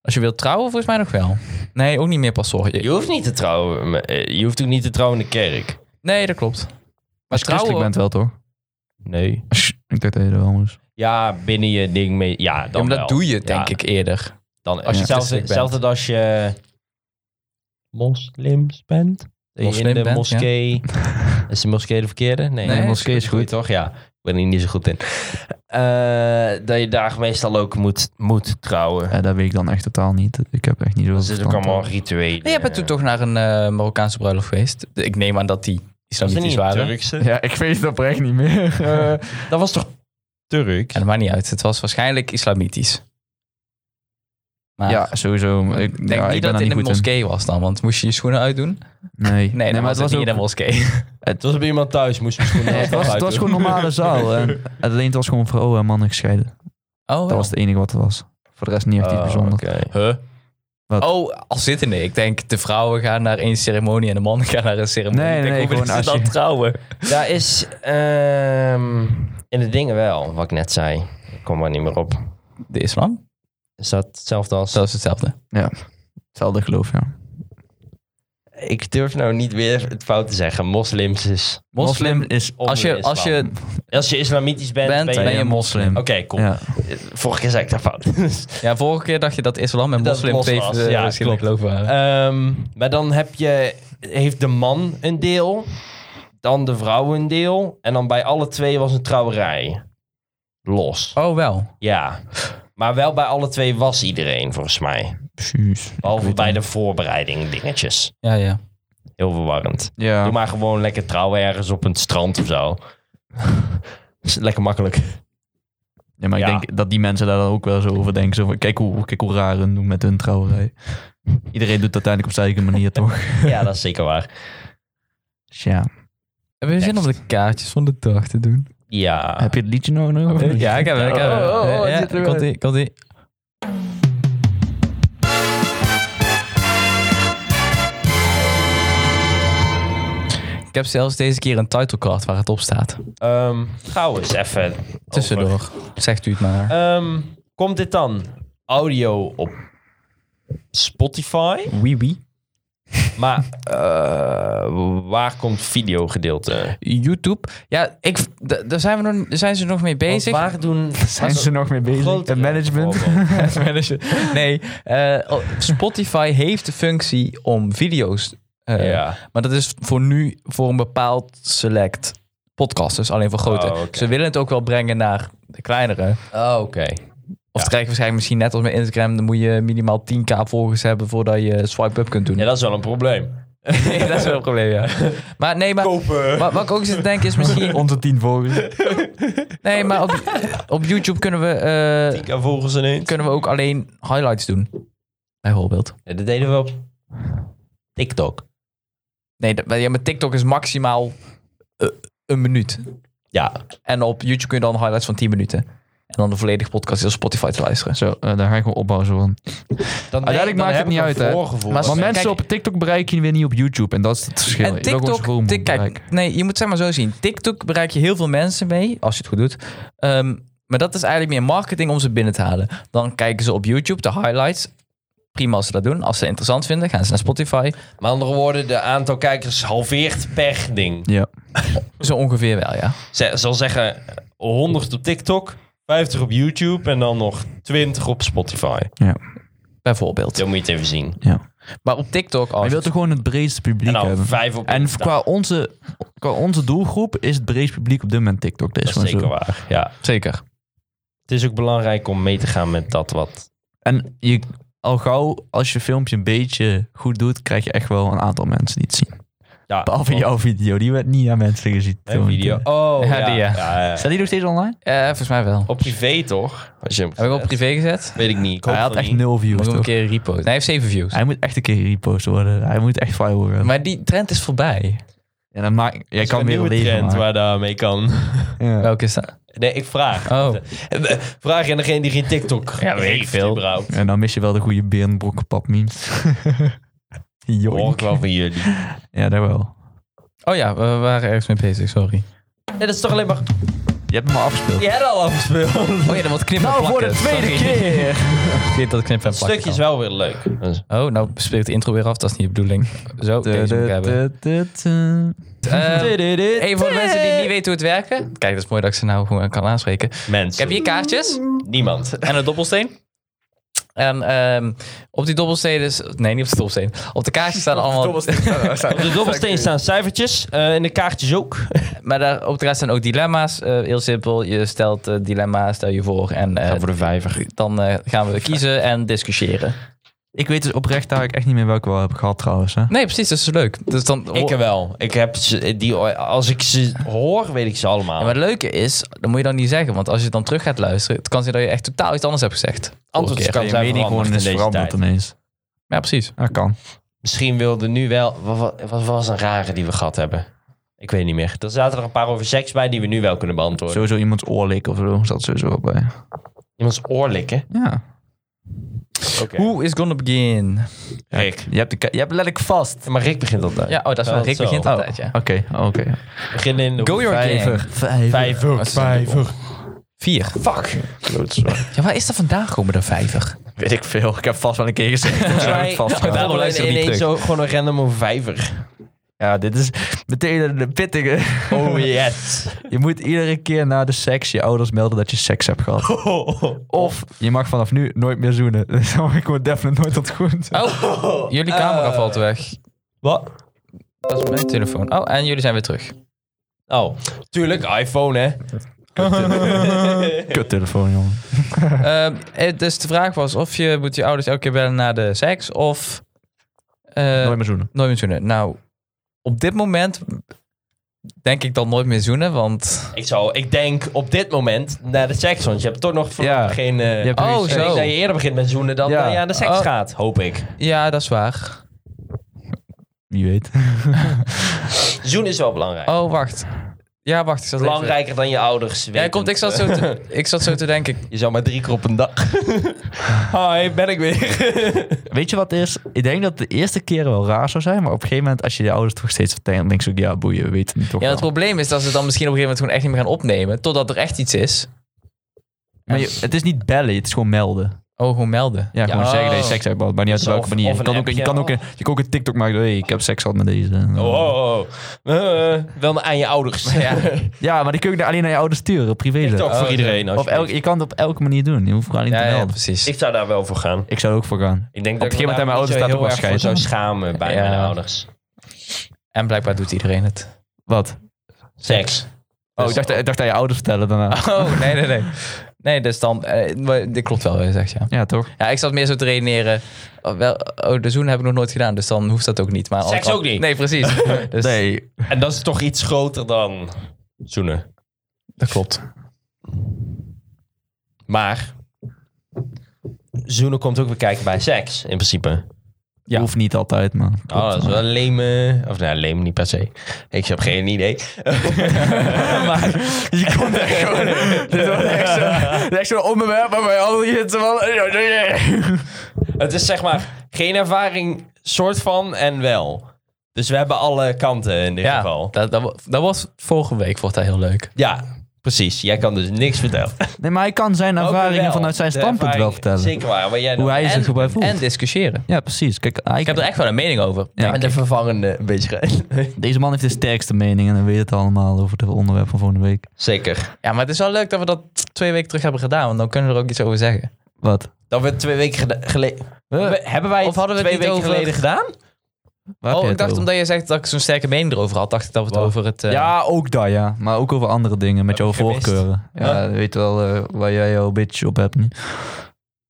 [SPEAKER 1] Als je wilt trouwen, volgens mij nog wel. Nee, ook niet meer pastoor.
[SPEAKER 3] Je hoeft niet te trouwen. maar, eh, Je hoeft ook niet te trouwen in de kerk.
[SPEAKER 1] Nee, dat klopt.
[SPEAKER 2] Als je christelijk bent wel, toch?
[SPEAKER 3] Nee.
[SPEAKER 2] Ik dacht dat je er wel moest.
[SPEAKER 3] Ja, binnen je ding mee. Ja, dan
[SPEAKER 1] ja, maar dat
[SPEAKER 3] wel.
[SPEAKER 1] doe je,
[SPEAKER 3] Ja,
[SPEAKER 1] denk ik, eerder.
[SPEAKER 3] Dan,
[SPEAKER 1] als
[SPEAKER 3] eh, als
[SPEAKER 1] je
[SPEAKER 3] je zelfs,
[SPEAKER 1] christelijk bent.
[SPEAKER 3] hetzelfde als je moslims bent. Dat je
[SPEAKER 1] Moslim
[SPEAKER 3] in de
[SPEAKER 1] bent,
[SPEAKER 3] moskee. Is de moskee de verkeerde? Nee,
[SPEAKER 1] Nee,
[SPEAKER 3] de moskee
[SPEAKER 1] is
[SPEAKER 3] is goed, toch? Ja, ik ben er niet zo goed in. Eh, dat je daar meestal ook moet, moet trouwen.
[SPEAKER 2] Ja, dat weet ik dan echt totaal niet. Ik heb echt niet zoveel
[SPEAKER 3] Dat is ook
[SPEAKER 2] verstand
[SPEAKER 3] allemaal
[SPEAKER 2] van.
[SPEAKER 3] rituelen.
[SPEAKER 1] Nee, jij bent toen toch naar een eh, Marokkaanse bruiloft geweest? Ik neem aan dat die
[SPEAKER 3] Was dat
[SPEAKER 1] islamitisch
[SPEAKER 3] niet
[SPEAKER 1] waren.
[SPEAKER 3] Turkse?
[SPEAKER 2] Ja, ik weet het oprecht niet meer. Eh,
[SPEAKER 3] Dat was toch Turk?
[SPEAKER 1] En dat maakt niet uit. Het was waarschijnlijk islamitisch. Maar
[SPEAKER 2] ja, sowieso. maar Ik,
[SPEAKER 1] ik denk
[SPEAKER 2] ja,
[SPEAKER 1] niet
[SPEAKER 2] ik ben
[SPEAKER 1] dat
[SPEAKER 2] daar
[SPEAKER 1] het in
[SPEAKER 2] niet
[SPEAKER 1] de
[SPEAKER 2] goed
[SPEAKER 1] moskee was dan, want moest je je schoenen uitdoen?
[SPEAKER 2] in. Nee.
[SPEAKER 1] Nee, dan was het niet in de moskee.
[SPEAKER 3] Het was bij iemand thuis, moest je schoenen
[SPEAKER 2] Nee, het, was, het was gewoon een normale zaal. En, alleen het was gewoon vrouwen en mannen gescheiden.
[SPEAKER 1] Oh,
[SPEAKER 2] Dat was het enige wat er was. Voor de rest niet
[SPEAKER 3] Oh,
[SPEAKER 2] echt iets bijzonders.
[SPEAKER 1] Huh?
[SPEAKER 2] Wat?
[SPEAKER 1] Oh, al zittende. Ik denk, de vrouwen gaan naar één ceremonie en de mannen gaan naar een ceremonie.
[SPEAKER 2] Nee,
[SPEAKER 1] ik
[SPEAKER 2] nee,
[SPEAKER 1] denk, hoe willen
[SPEAKER 2] gewoon
[SPEAKER 1] ze
[SPEAKER 2] als
[SPEAKER 1] dan
[SPEAKER 2] je-
[SPEAKER 1] trouwen?
[SPEAKER 3] Daar is ehm, in de dingen wel, wat ik net zei. Ik kom maar niet meer op.
[SPEAKER 1] De islam?
[SPEAKER 3] Is dat hetzelfde als...
[SPEAKER 1] Dat is hetzelfde.
[SPEAKER 2] Hetzelfde geloof, ja.
[SPEAKER 3] Ik durf nou niet weer het fout te zeggen. Moslims is...
[SPEAKER 1] Moslim,
[SPEAKER 2] is...
[SPEAKER 1] als je, als je
[SPEAKER 3] Als je islamitisch bent,
[SPEAKER 1] bent,
[SPEAKER 3] ben je...
[SPEAKER 1] ben je moslim.
[SPEAKER 3] Oké, cool.
[SPEAKER 2] Ja.
[SPEAKER 3] Vorige keer zei ik dat fout.
[SPEAKER 1] Ja, vorige keer dacht je dat islam en
[SPEAKER 3] Dat
[SPEAKER 1] moslim
[SPEAKER 3] los
[SPEAKER 1] twee
[SPEAKER 3] was.
[SPEAKER 1] eh,
[SPEAKER 3] Ja,
[SPEAKER 1] verschillende
[SPEAKER 3] klopt.
[SPEAKER 1] geloven waren.
[SPEAKER 3] Ehm, maar dan heb je... Heeft de man een deel, dan de vrouw een deel. En dan bij alle twee was een trouwerij. Los.
[SPEAKER 1] Oh, wel.
[SPEAKER 3] Ja. Maar wel bij alle twee was iedereen, volgens mij.
[SPEAKER 2] Precies. Ik
[SPEAKER 3] Behalve
[SPEAKER 2] weet
[SPEAKER 3] bij
[SPEAKER 2] het
[SPEAKER 3] de voorbereiding dingetjes.
[SPEAKER 1] Ja, ja.
[SPEAKER 3] Heel verwarrend.
[SPEAKER 2] niet. Ja.
[SPEAKER 3] Doe maar gewoon lekker trouwen ergens op een strand of zo. Is lekker makkelijk.
[SPEAKER 2] ja, maar
[SPEAKER 3] Ja.
[SPEAKER 2] ik denk dat die mensen daar dan ook wel zo over denken. Zo van, kijk, hoe, kijk hoe raar hun doen met hun trouwerij. Iedereen doet het uiteindelijk op zijn eigen manier, toch?
[SPEAKER 3] Ja, dat is zeker waar.
[SPEAKER 2] Dus ja.
[SPEAKER 1] Hebben we zin om de kaartjes van de dag te doen?
[SPEAKER 3] Ja.
[SPEAKER 2] Ah. Heb je het liedje nog? nog?
[SPEAKER 1] Ja, ik heb hem. Ik heb hem.
[SPEAKER 2] Oh, oh, oh, het
[SPEAKER 1] ja,
[SPEAKER 2] zit er
[SPEAKER 1] komt ie, komt ie. Ik heb zelfs deze keer een titlecard waar het op
[SPEAKER 2] Oh,
[SPEAKER 1] staat.
[SPEAKER 3] Ehm gauw eens even. over.
[SPEAKER 1] Tussendoor. Zegt u het maar.
[SPEAKER 3] Ehm, komt dit dan audio op Spotify?
[SPEAKER 1] Wee wee.
[SPEAKER 3] Maar eh, waar komt videogedeelte?
[SPEAKER 1] YouTube. Ja, ik, d- daar zijn, we nog, daar zijn ze nog mee bezig.
[SPEAKER 3] Want waar doen...
[SPEAKER 2] Zijn ze nog mee bezig?
[SPEAKER 3] grotere
[SPEAKER 2] Het management?
[SPEAKER 3] bijvoorbeeld?
[SPEAKER 1] nee, eh, oh, Spotify heeft de functie om video's... eh,
[SPEAKER 3] ja.
[SPEAKER 1] Maar dat is voor nu voor een bepaald select podcast. Dus alleen voor grote.
[SPEAKER 3] Oh, oké.
[SPEAKER 1] Ze willen het ook wel brengen naar de kleinere.
[SPEAKER 3] Oh, oké.
[SPEAKER 1] Of
[SPEAKER 3] Ja.
[SPEAKER 1] krijg je waarschijnlijk misschien net als met Instagram. Dan moet je minimaal 10k volgers hebben voordat je swipe-up kunt doen.
[SPEAKER 3] Ja, dat is wel een probleem.
[SPEAKER 1] Nee, dat is wel een probleem, ja. Maar nee, maar...
[SPEAKER 3] Kopen.
[SPEAKER 1] Wat, wat ik ook zit te denken is misschien...
[SPEAKER 2] Onze tien volgers.
[SPEAKER 1] Nee, maar op, op YouTube kunnen we, eh,
[SPEAKER 3] Ik volgens ineens.
[SPEAKER 1] kunnen we ook alleen highlights doen. Bijvoorbeeld.
[SPEAKER 3] Ja, dat deden we op TikTok.
[SPEAKER 1] Nee, dat, ja, met TikTok is maximaal eh, een minuut.
[SPEAKER 3] Ja.
[SPEAKER 1] En op YouTube kun je dan highlights van 10 minuten. En dan de volledige podcast op Spotify te luisteren.
[SPEAKER 2] Zo, eh, daar ga ik wel opbouwen zo van.
[SPEAKER 3] Dan
[SPEAKER 2] Uiteindelijk
[SPEAKER 3] denk- dan
[SPEAKER 2] maakt het
[SPEAKER 3] heb
[SPEAKER 2] niet
[SPEAKER 3] ik een
[SPEAKER 2] uit, hè.
[SPEAKER 3] voorgevoel.
[SPEAKER 1] Maar
[SPEAKER 2] Maar
[SPEAKER 1] Kijk-
[SPEAKER 2] mensen op TikTok bereiken je weer niet op YouTube. En dat is het verschil.
[SPEAKER 1] En
[SPEAKER 2] Je wil gewoon
[SPEAKER 1] TikTok,
[SPEAKER 2] zoveel mogelijk
[SPEAKER 1] tik- kijk,
[SPEAKER 2] bereiken.
[SPEAKER 1] nee, je moet het zeg maar zo zien. TikTok bereik je heel veel mensen mee, als je het goed doet. Ehm, maar dat is eigenlijk meer marketing om ze binnen te halen. Dan kijken ze op YouTube de highlights. Prima als ze dat doen. Als ze het interessant vinden, gaan ze naar Spotify.
[SPEAKER 3] Met andere woorden, de aantal kijkers halveert per ding.
[SPEAKER 2] Ja.
[SPEAKER 1] Zo ongeveer wel, ja.
[SPEAKER 3] Ze- zal zeggen 100 op TikTok, 50 op YouTube en dan nog 20 op Spotify.
[SPEAKER 1] Bijvoorbeeld.
[SPEAKER 3] Zo moet je het even zien.
[SPEAKER 1] Maar op TikTok...
[SPEAKER 2] Maar
[SPEAKER 1] Als
[SPEAKER 2] je wilt toch gewoon het breedste publiek
[SPEAKER 3] En dan
[SPEAKER 2] hebben.
[SPEAKER 3] 5 op
[SPEAKER 2] En
[SPEAKER 3] Insta.
[SPEAKER 2] qua onze, qua onze doelgroep is het breedste publiek op dit moment TikTok. Dat is
[SPEAKER 3] dat is
[SPEAKER 2] gewoon
[SPEAKER 3] zeker
[SPEAKER 2] zo.
[SPEAKER 3] waar. Ja.
[SPEAKER 1] Zeker.
[SPEAKER 3] Het is ook belangrijk om mee te gaan met dat wat.
[SPEAKER 2] En je, al gauw, als je filmpje een beetje goed doet, krijg je echt wel een aantal mensen die het zien.
[SPEAKER 3] Ja,
[SPEAKER 2] Behalve jouw video, die werd niet aan mensen gezien.
[SPEAKER 3] Een video. Oh,
[SPEAKER 1] Ja,
[SPEAKER 3] ja.
[SPEAKER 1] die, ja.
[SPEAKER 3] ja, ja.
[SPEAKER 2] Staat die nog steeds online?
[SPEAKER 1] Eh, volgens mij wel.
[SPEAKER 3] Op privé toch? Als je hem
[SPEAKER 1] Heb ik op privé gezet?
[SPEAKER 3] Weet ik niet. Ik hoop
[SPEAKER 2] hij had
[SPEAKER 3] van
[SPEAKER 2] echt
[SPEAKER 3] niet.
[SPEAKER 2] nul views.
[SPEAKER 1] Moet ik een
[SPEAKER 2] toch?
[SPEAKER 1] keer repost. Nee, hij heeft zeven views.
[SPEAKER 2] Hij moet echt een keer repost worden. Hij moet echt viral worden.
[SPEAKER 1] Maar die trend is voorbij.
[SPEAKER 2] en dan maak, jij
[SPEAKER 3] Er is
[SPEAKER 2] kan
[SPEAKER 3] een
[SPEAKER 2] weer
[SPEAKER 3] nieuwe
[SPEAKER 2] een leven
[SPEAKER 3] trend
[SPEAKER 2] maken.
[SPEAKER 3] waar daarmee kan.
[SPEAKER 2] Ja.
[SPEAKER 1] Welke is dat?
[SPEAKER 3] Nee, ik vraag.
[SPEAKER 1] Oh.
[SPEAKER 3] Vraag aan degene die geen TikTok
[SPEAKER 1] Ja, weet ik
[SPEAKER 3] heeft,
[SPEAKER 1] veel.
[SPEAKER 3] überhaupt.
[SPEAKER 2] En dan mis je wel de goede berenbrokkenpap memes.
[SPEAKER 3] Hoor
[SPEAKER 2] Joink.
[SPEAKER 3] ik wel van jullie.
[SPEAKER 2] Ja, daar wel.
[SPEAKER 1] Oh ja, we waren ergens mee bezig, sorry.
[SPEAKER 3] Nee, dat is toch alleen maar...
[SPEAKER 2] Je hebt hem al afgespeeld.
[SPEAKER 3] Je hebt al afgespeeld.
[SPEAKER 1] Oh ja, dan wat knippen en plakken. Sorry.
[SPEAKER 2] keer.
[SPEAKER 1] Ik weet dat knippen en plakken
[SPEAKER 3] stukje
[SPEAKER 1] kan.
[SPEAKER 3] is wel weer leuk. Dus-
[SPEAKER 1] Oh, nou speelt de intro weer af. Dat is niet de bedoeling. Zo, deze moet ik hebben. Eh, hey, voor de mensen die niet weten hoe het werkt. Kijk, dat is mooi dat ik ze nou gewoon kan aanspreken. Ik
[SPEAKER 3] Mensen.
[SPEAKER 1] heb hier kaartjes
[SPEAKER 3] Niemand.
[SPEAKER 1] en een dobbelsteen. En ehm, op die dobbelsteen is... Nee, niet op de dobbelsteen. Op de kaartjes staan allemaal...
[SPEAKER 3] Op de dobbelsteen staan cijfertjes. eh, en de kaartjes ook.
[SPEAKER 1] maar daar, op de rest staan ook dilemma's. Eh, heel simpel. Je stelt eh, dilemma's, stel je voor. En eh,
[SPEAKER 3] de vijver.
[SPEAKER 1] dan eh, gaan we kiezen en discussiëren.
[SPEAKER 2] Ik weet dus oprecht eigenlijk echt niet meer welke wel heb gehad trouwens. Hè?
[SPEAKER 1] Nee, precies. Dat is leuk. Dus dan,
[SPEAKER 3] Ik wel. Ik heb ze, die, als ik ze hoor, weet ik ze allemaal.
[SPEAKER 1] Ja, maar het leuke is, dat moet je dan niet zeggen. Want als je dan terug gaat luisteren, het kan zijn dat je echt totaal iets anders hebt gezegd.
[SPEAKER 3] Antwoord
[SPEAKER 1] Vorige
[SPEAKER 3] kan
[SPEAKER 2] Je
[SPEAKER 3] zijn
[SPEAKER 2] mening
[SPEAKER 3] veranderd
[SPEAKER 2] gewoon
[SPEAKER 3] in
[SPEAKER 2] is
[SPEAKER 3] deze
[SPEAKER 2] veranderd
[SPEAKER 3] tijd.
[SPEAKER 2] ineens.
[SPEAKER 1] Ja, precies.
[SPEAKER 2] Dat kan.
[SPEAKER 3] Misschien wilde nu wel... Wat, wat, wat was een rare die we gehad hebben? Ik weet niet meer. Er zaten er een paar over seks bij die we nu wel kunnen beantwoorden.
[SPEAKER 2] Sowieso iemands oor likken of zo zat sowieso wel bij.
[SPEAKER 3] Iemands oor likken.
[SPEAKER 2] Ja.
[SPEAKER 3] Oké.
[SPEAKER 1] Who is gonna begin?
[SPEAKER 3] Rick.
[SPEAKER 2] Je hebt, de, ka- je hebt letterlijk vast.
[SPEAKER 3] Maar Rick begint altijd.
[SPEAKER 1] Ja, oh, dat is waar.
[SPEAKER 3] Dat
[SPEAKER 1] Rick
[SPEAKER 3] zo.
[SPEAKER 1] begint
[SPEAKER 3] Oh.
[SPEAKER 1] altijd, ja.
[SPEAKER 2] Oké, oké.
[SPEAKER 3] Begin in de
[SPEAKER 1] Go your game.
[SPEAKER 2] Vijf.
[SPEAKER 3] Vijver.
[SPEAKER 1] Vijver. Vier.
[SPEAKER 3] Fuck.
[SPEAKER 1] Ja, waar is dat vandaan gekomen, dat vijver?
[SPEAKER 2] Weet ik veel. Ik heb vast wel een keer gezegd.
[SPEAKER 3] Volgens mij-
[SPEAKER 2] vast wel.
[SPEAKER 1] Daarom
[SPEAKER 3] Gewoon
[SPEAKER 1] luister je niet
[SPEAKER 3] ineens
[SPEAKER 1] terug.
[SPEAKER 3] zo gewoon een random over vijver.
[SPEAKER 2] Ja, dit is meteen de pittige.
[SPEAKER 3] Oh yes.
[SPEAKER 2] Je moet iedere keer na de seks je ouders melden dat je seks hebt gehad.
[SPEAKER 3] Oh.
[SPEAKER 2] Of je mag vanaf nu nooit meer zoenen. Dus dan word ik gewoon definitely nooit tot goed.
[SPEAKER 1] Oh, jullie camera valt weg.
[SPEAKER 3] Wat?
[SPEAKER 1] Dat is mijn telefoon. Oh, en jullie zijn weer terug.
[SPEAKER 3] Oh, tuurlijk, iPhone hè.
[SPEAKER 2] Kuttelefoon, jongen.
[SPEAKER 1] Ehm, eh, dus de vraag was of je moet je ouders elke keer bellen na de seks of... eh,
[SPEAKER 2] nooit meer zoenen.
[SPEAKER 1] nooit meer zoenen. Nou, op dit moment denk ik dan nooit meer zoenen, want...
[SPEAKER 3] Ik zou, ik denk op dit moment naar de seks, want je hebt toch nog
[SPEAKER 2] Ja.
[SPEAKER 3] vanaf geen... eh,
[SPEAKER 2] hebt-
[SPEAKER 1] Oh,
[SPEAKER 3] ik denk
[SPEAKER 1] zo.
[SPEAKER 3] dat je eerder begint met zoenen dan
[SPEAKER 2] Ja.
[SPEAKER 3] dat je aan de seks
[SPEAKER 1] Oh.
[SPEAKER 3] gaat, hoop ik.
[SPEAKER 1] Ja, dat is waar.
[SPEAKER 2] Wie weet.
[SPEAKER 3] Zoenen is wel belangrijk.
[SPEAKER 1] Oh, wacht. Ja, wacht. Ik zat even-
[SPEAKER 3] Belangrijker dan je ouders.
[SPEAKER 1] Ja,
[SPEAKER 3] weten.
[SPEAKER 1] komt, ik, zat zo te, ik zat zo te denken.
[SPEAKER 3] Je zou maar drie keer op een dag... Hi, ben ik weer.
[SPEAKER 2] Weet je wat het is? Ik denk dat de eerste keren wel raar zou zijn. Maar op een gegeven moment, als je je ouders toch steeds vertelt, dan denk je ook, ja, boeien, we weten het niet toch
[SPEAKER 1] Ja, het
[SPEAKER 2] wel.
[SPEAKER 1] probleem is dat ze dan misschien op een gegeven moment gewoon echt niet meer gaan opnemen. Totdat er echt iets is.
[SPEAKER 2] Maar je- het is niet bellen, het is gewoon melden.
[SPEAKER 1] Oh, gewoon melden.
[SPEAKER 2] Ja, gewoon
[SPEAKER 3] Ja.
[SPEAKER 2] zeggen dat je seks hebt gehad, maar niet uit
[SPEAKER 3] Dus
[SPEAKER 2] welke
[SPEAKER 3] of-
[SPEAKER 2] manier.
[SPEAKER 3] of
[SPEAKER 2] Je
[SPEAKER 3] een
[SPEAKER 2] kan, ook, je,
[SPEAKER 3] appje.
[SPEAKER 2] kan ook een, je kan ook een TikTok maken, hey, ik heb seks gehad met deze.
[SPEAKER 3] Oh, oh, oh. Eh, wel aan je ouders.
[SPEAKER 1] Ja.
[SPEAKER 2] Ja, maar die kun je alleen naar je ouders sturen, privé.
[SPEAKER 3] Toch voor
[SPEAKER 1] Oh,
[SPEAKER 3] iedereen.
[SPEAKER 2] Of elk,
[SPEAKER 3] alsjeblieft.
[SPEAKER 2] je kan het op elke manier doen. Je hoeft gewoon niet
[SPEAKER 1] Ja,
[SPEAKER 2] te
[SPEAKER 1] ja,
[SPEAKER 2] melden.
[SPEAKER 1] precies.
[SPEAKER 3] Ik zou daar wel voor gaan.
[SPEAKER 2] Ik zou er ook voor gaan.
[SPEAKER 3] Ik denk
[SPEAKER 2] Op
[SPEAKER 3] dat
[SPEAKER 2] een gegeven moment hebben mijn ouders daar toch wel
[SPEAKER 3] Ik me daar niet zo
[SPEAKER 2] scheid
[SPEAKER 3] heel erg voor zou schamen bij
[SPEAKER 1] Ja.
[SPEAKER 3] mijn ouders.
[SPEAKER 1] En blijkbaar doet iedereen het.
[SPEAKER 3] Dus-
[SPEAKER 2] Wat?
[SPEAKER 3] Seks.
[SPEAKER 2] Oh, ik dacht, ik dacht aan je ouders vertellen
[SPEAKER 3] Ah.
[SPEAKER 2] daarna.
[SPEAKER 1] Oh, nee, nee, nee. Nee, dus dan... eh, maar dit klopt wel, wat je zegt, ja.
[SPEAKER 2] Ja, toch?
[SPEAKER 1] Ja, ik zat meer zo te redeneren. Oh, wel, oh, de zoen heb ik nog nooit gedaan, dus dan hoeft dat ook niet. Maar als-
[SPEAKER 3] Seks ook niet.
[SPEAKER 1] Nee, precies. Dus,
[SPEAKER 2] Nee.
[SPEAKER 3] En dat is toch iets groter dan zoenen.
[SPEAKER 1] Dat klopt.
[SPEAKER 3] Maar zoenen komt ook weer kijken bij seks, in principe. Ja.
[SPEAKER 2] Hoeft niet altijd, maar... klopt.
[SPEAKER 3] Oh, dat is wel lemen. Of nou, leem niet per se. Ik heb geen idee.
[SPEAKER 2] maar je komt echt gewoon... dit was echt zo- dit is echt zo'n onderwerp waarbij je altijd zit te van...
[SPEAKER 3] Het is zeg maar geen ervaring, soort van en wel. Dus we hebben alle kanten in dit
[SPEAKER 1] Ja,
[SPEAKER 3] geval.
[SPEAKER 1] dat, dat, wa- dat was vorige week, wordt dat heel leuk.
[SPEAKER 3] Ja, precies. Jij kan dus niks vertellen.
[SPEAKER 2] Nee, maar hij kan zijn
[SPEAKER 3] Ook
[SPEAKER 2] ervaringen
[SPEAKER 3] wel.
[SPEAKER 2] vanuit zijn
[SPEAKER 3] De
[SPEAKER 2] standpunt wel
[SPEAKER 3] ervaring-
[SPEAKER 2] vertellen.
[SPEAKER 3] Zeker waar. Maar jij
[SPEAKER 2] Hoe
[SPEAKER 3] dan-
[SPEAKER 2] hij zich
[SPEAKER 1] En,
[SPEAKER 2] erbij voelt.
[SPEAKER 1] en discussiëren.
[SPEAKER 2] ja, precies. Kijk, hij-
[SPEAKER 1] Ik heb er echt wel een mening over.
[SPEAKER 2] Ja,
[SPEAKER 3] En de vervangende, een beetje.
[SPEAKER 2] deze man heeft de sterkste mening en hij weet het allemaal over het onderwerp van volgende week.
[SPEAKER 3] Zeker.
[SPEAKER 1] Ja, maar het is wel leuk dat we dat twee weken terug hebben gedaan, want dan kunnen we er ook iets over zeggen.
[SPEAKER 2] Wat?
[SPEAKER 3] Dat we twee weken gede- geleden... We- hebben wij het
[SPEAKER 1] Of hadden we het
[SPEAKER 3] twee
[SPEAKER 1] niet
[SPEAKER 3] weken
[SPEAKER 1] over-
[SPEAKER 3] geleden gedaan?
[SPEAKER 2] Waar heb
[SPEAKER 1] oh,
[SPEAKER 2] jij
[SPEAKER 1] ik
[SPEAKER 2] het
[SPEAKER 1] dacht
[SPEAKER 2] over?
[SPEAKER 1] omdat je zegt dat ik zo'n sterke mening erover had, dacht ik dat we het
[SPEAKER 3] Wat?
[SPEAKER 1] over het... eh,
[SPEAKER 2] Ja, Ah, ook dat, ja. Maar ook over andere dingen, met
[SPEAKER 3] Heb
[SPEAKER 2] jouw
[SPEAKER 3] ik gemist.
[SPEAKER 2] voorkeuren. Ja,
[SPEAKER 3] Huh?
[SPEAKER 2] weet wel eh, waar jij jouw bitch op hebt nu.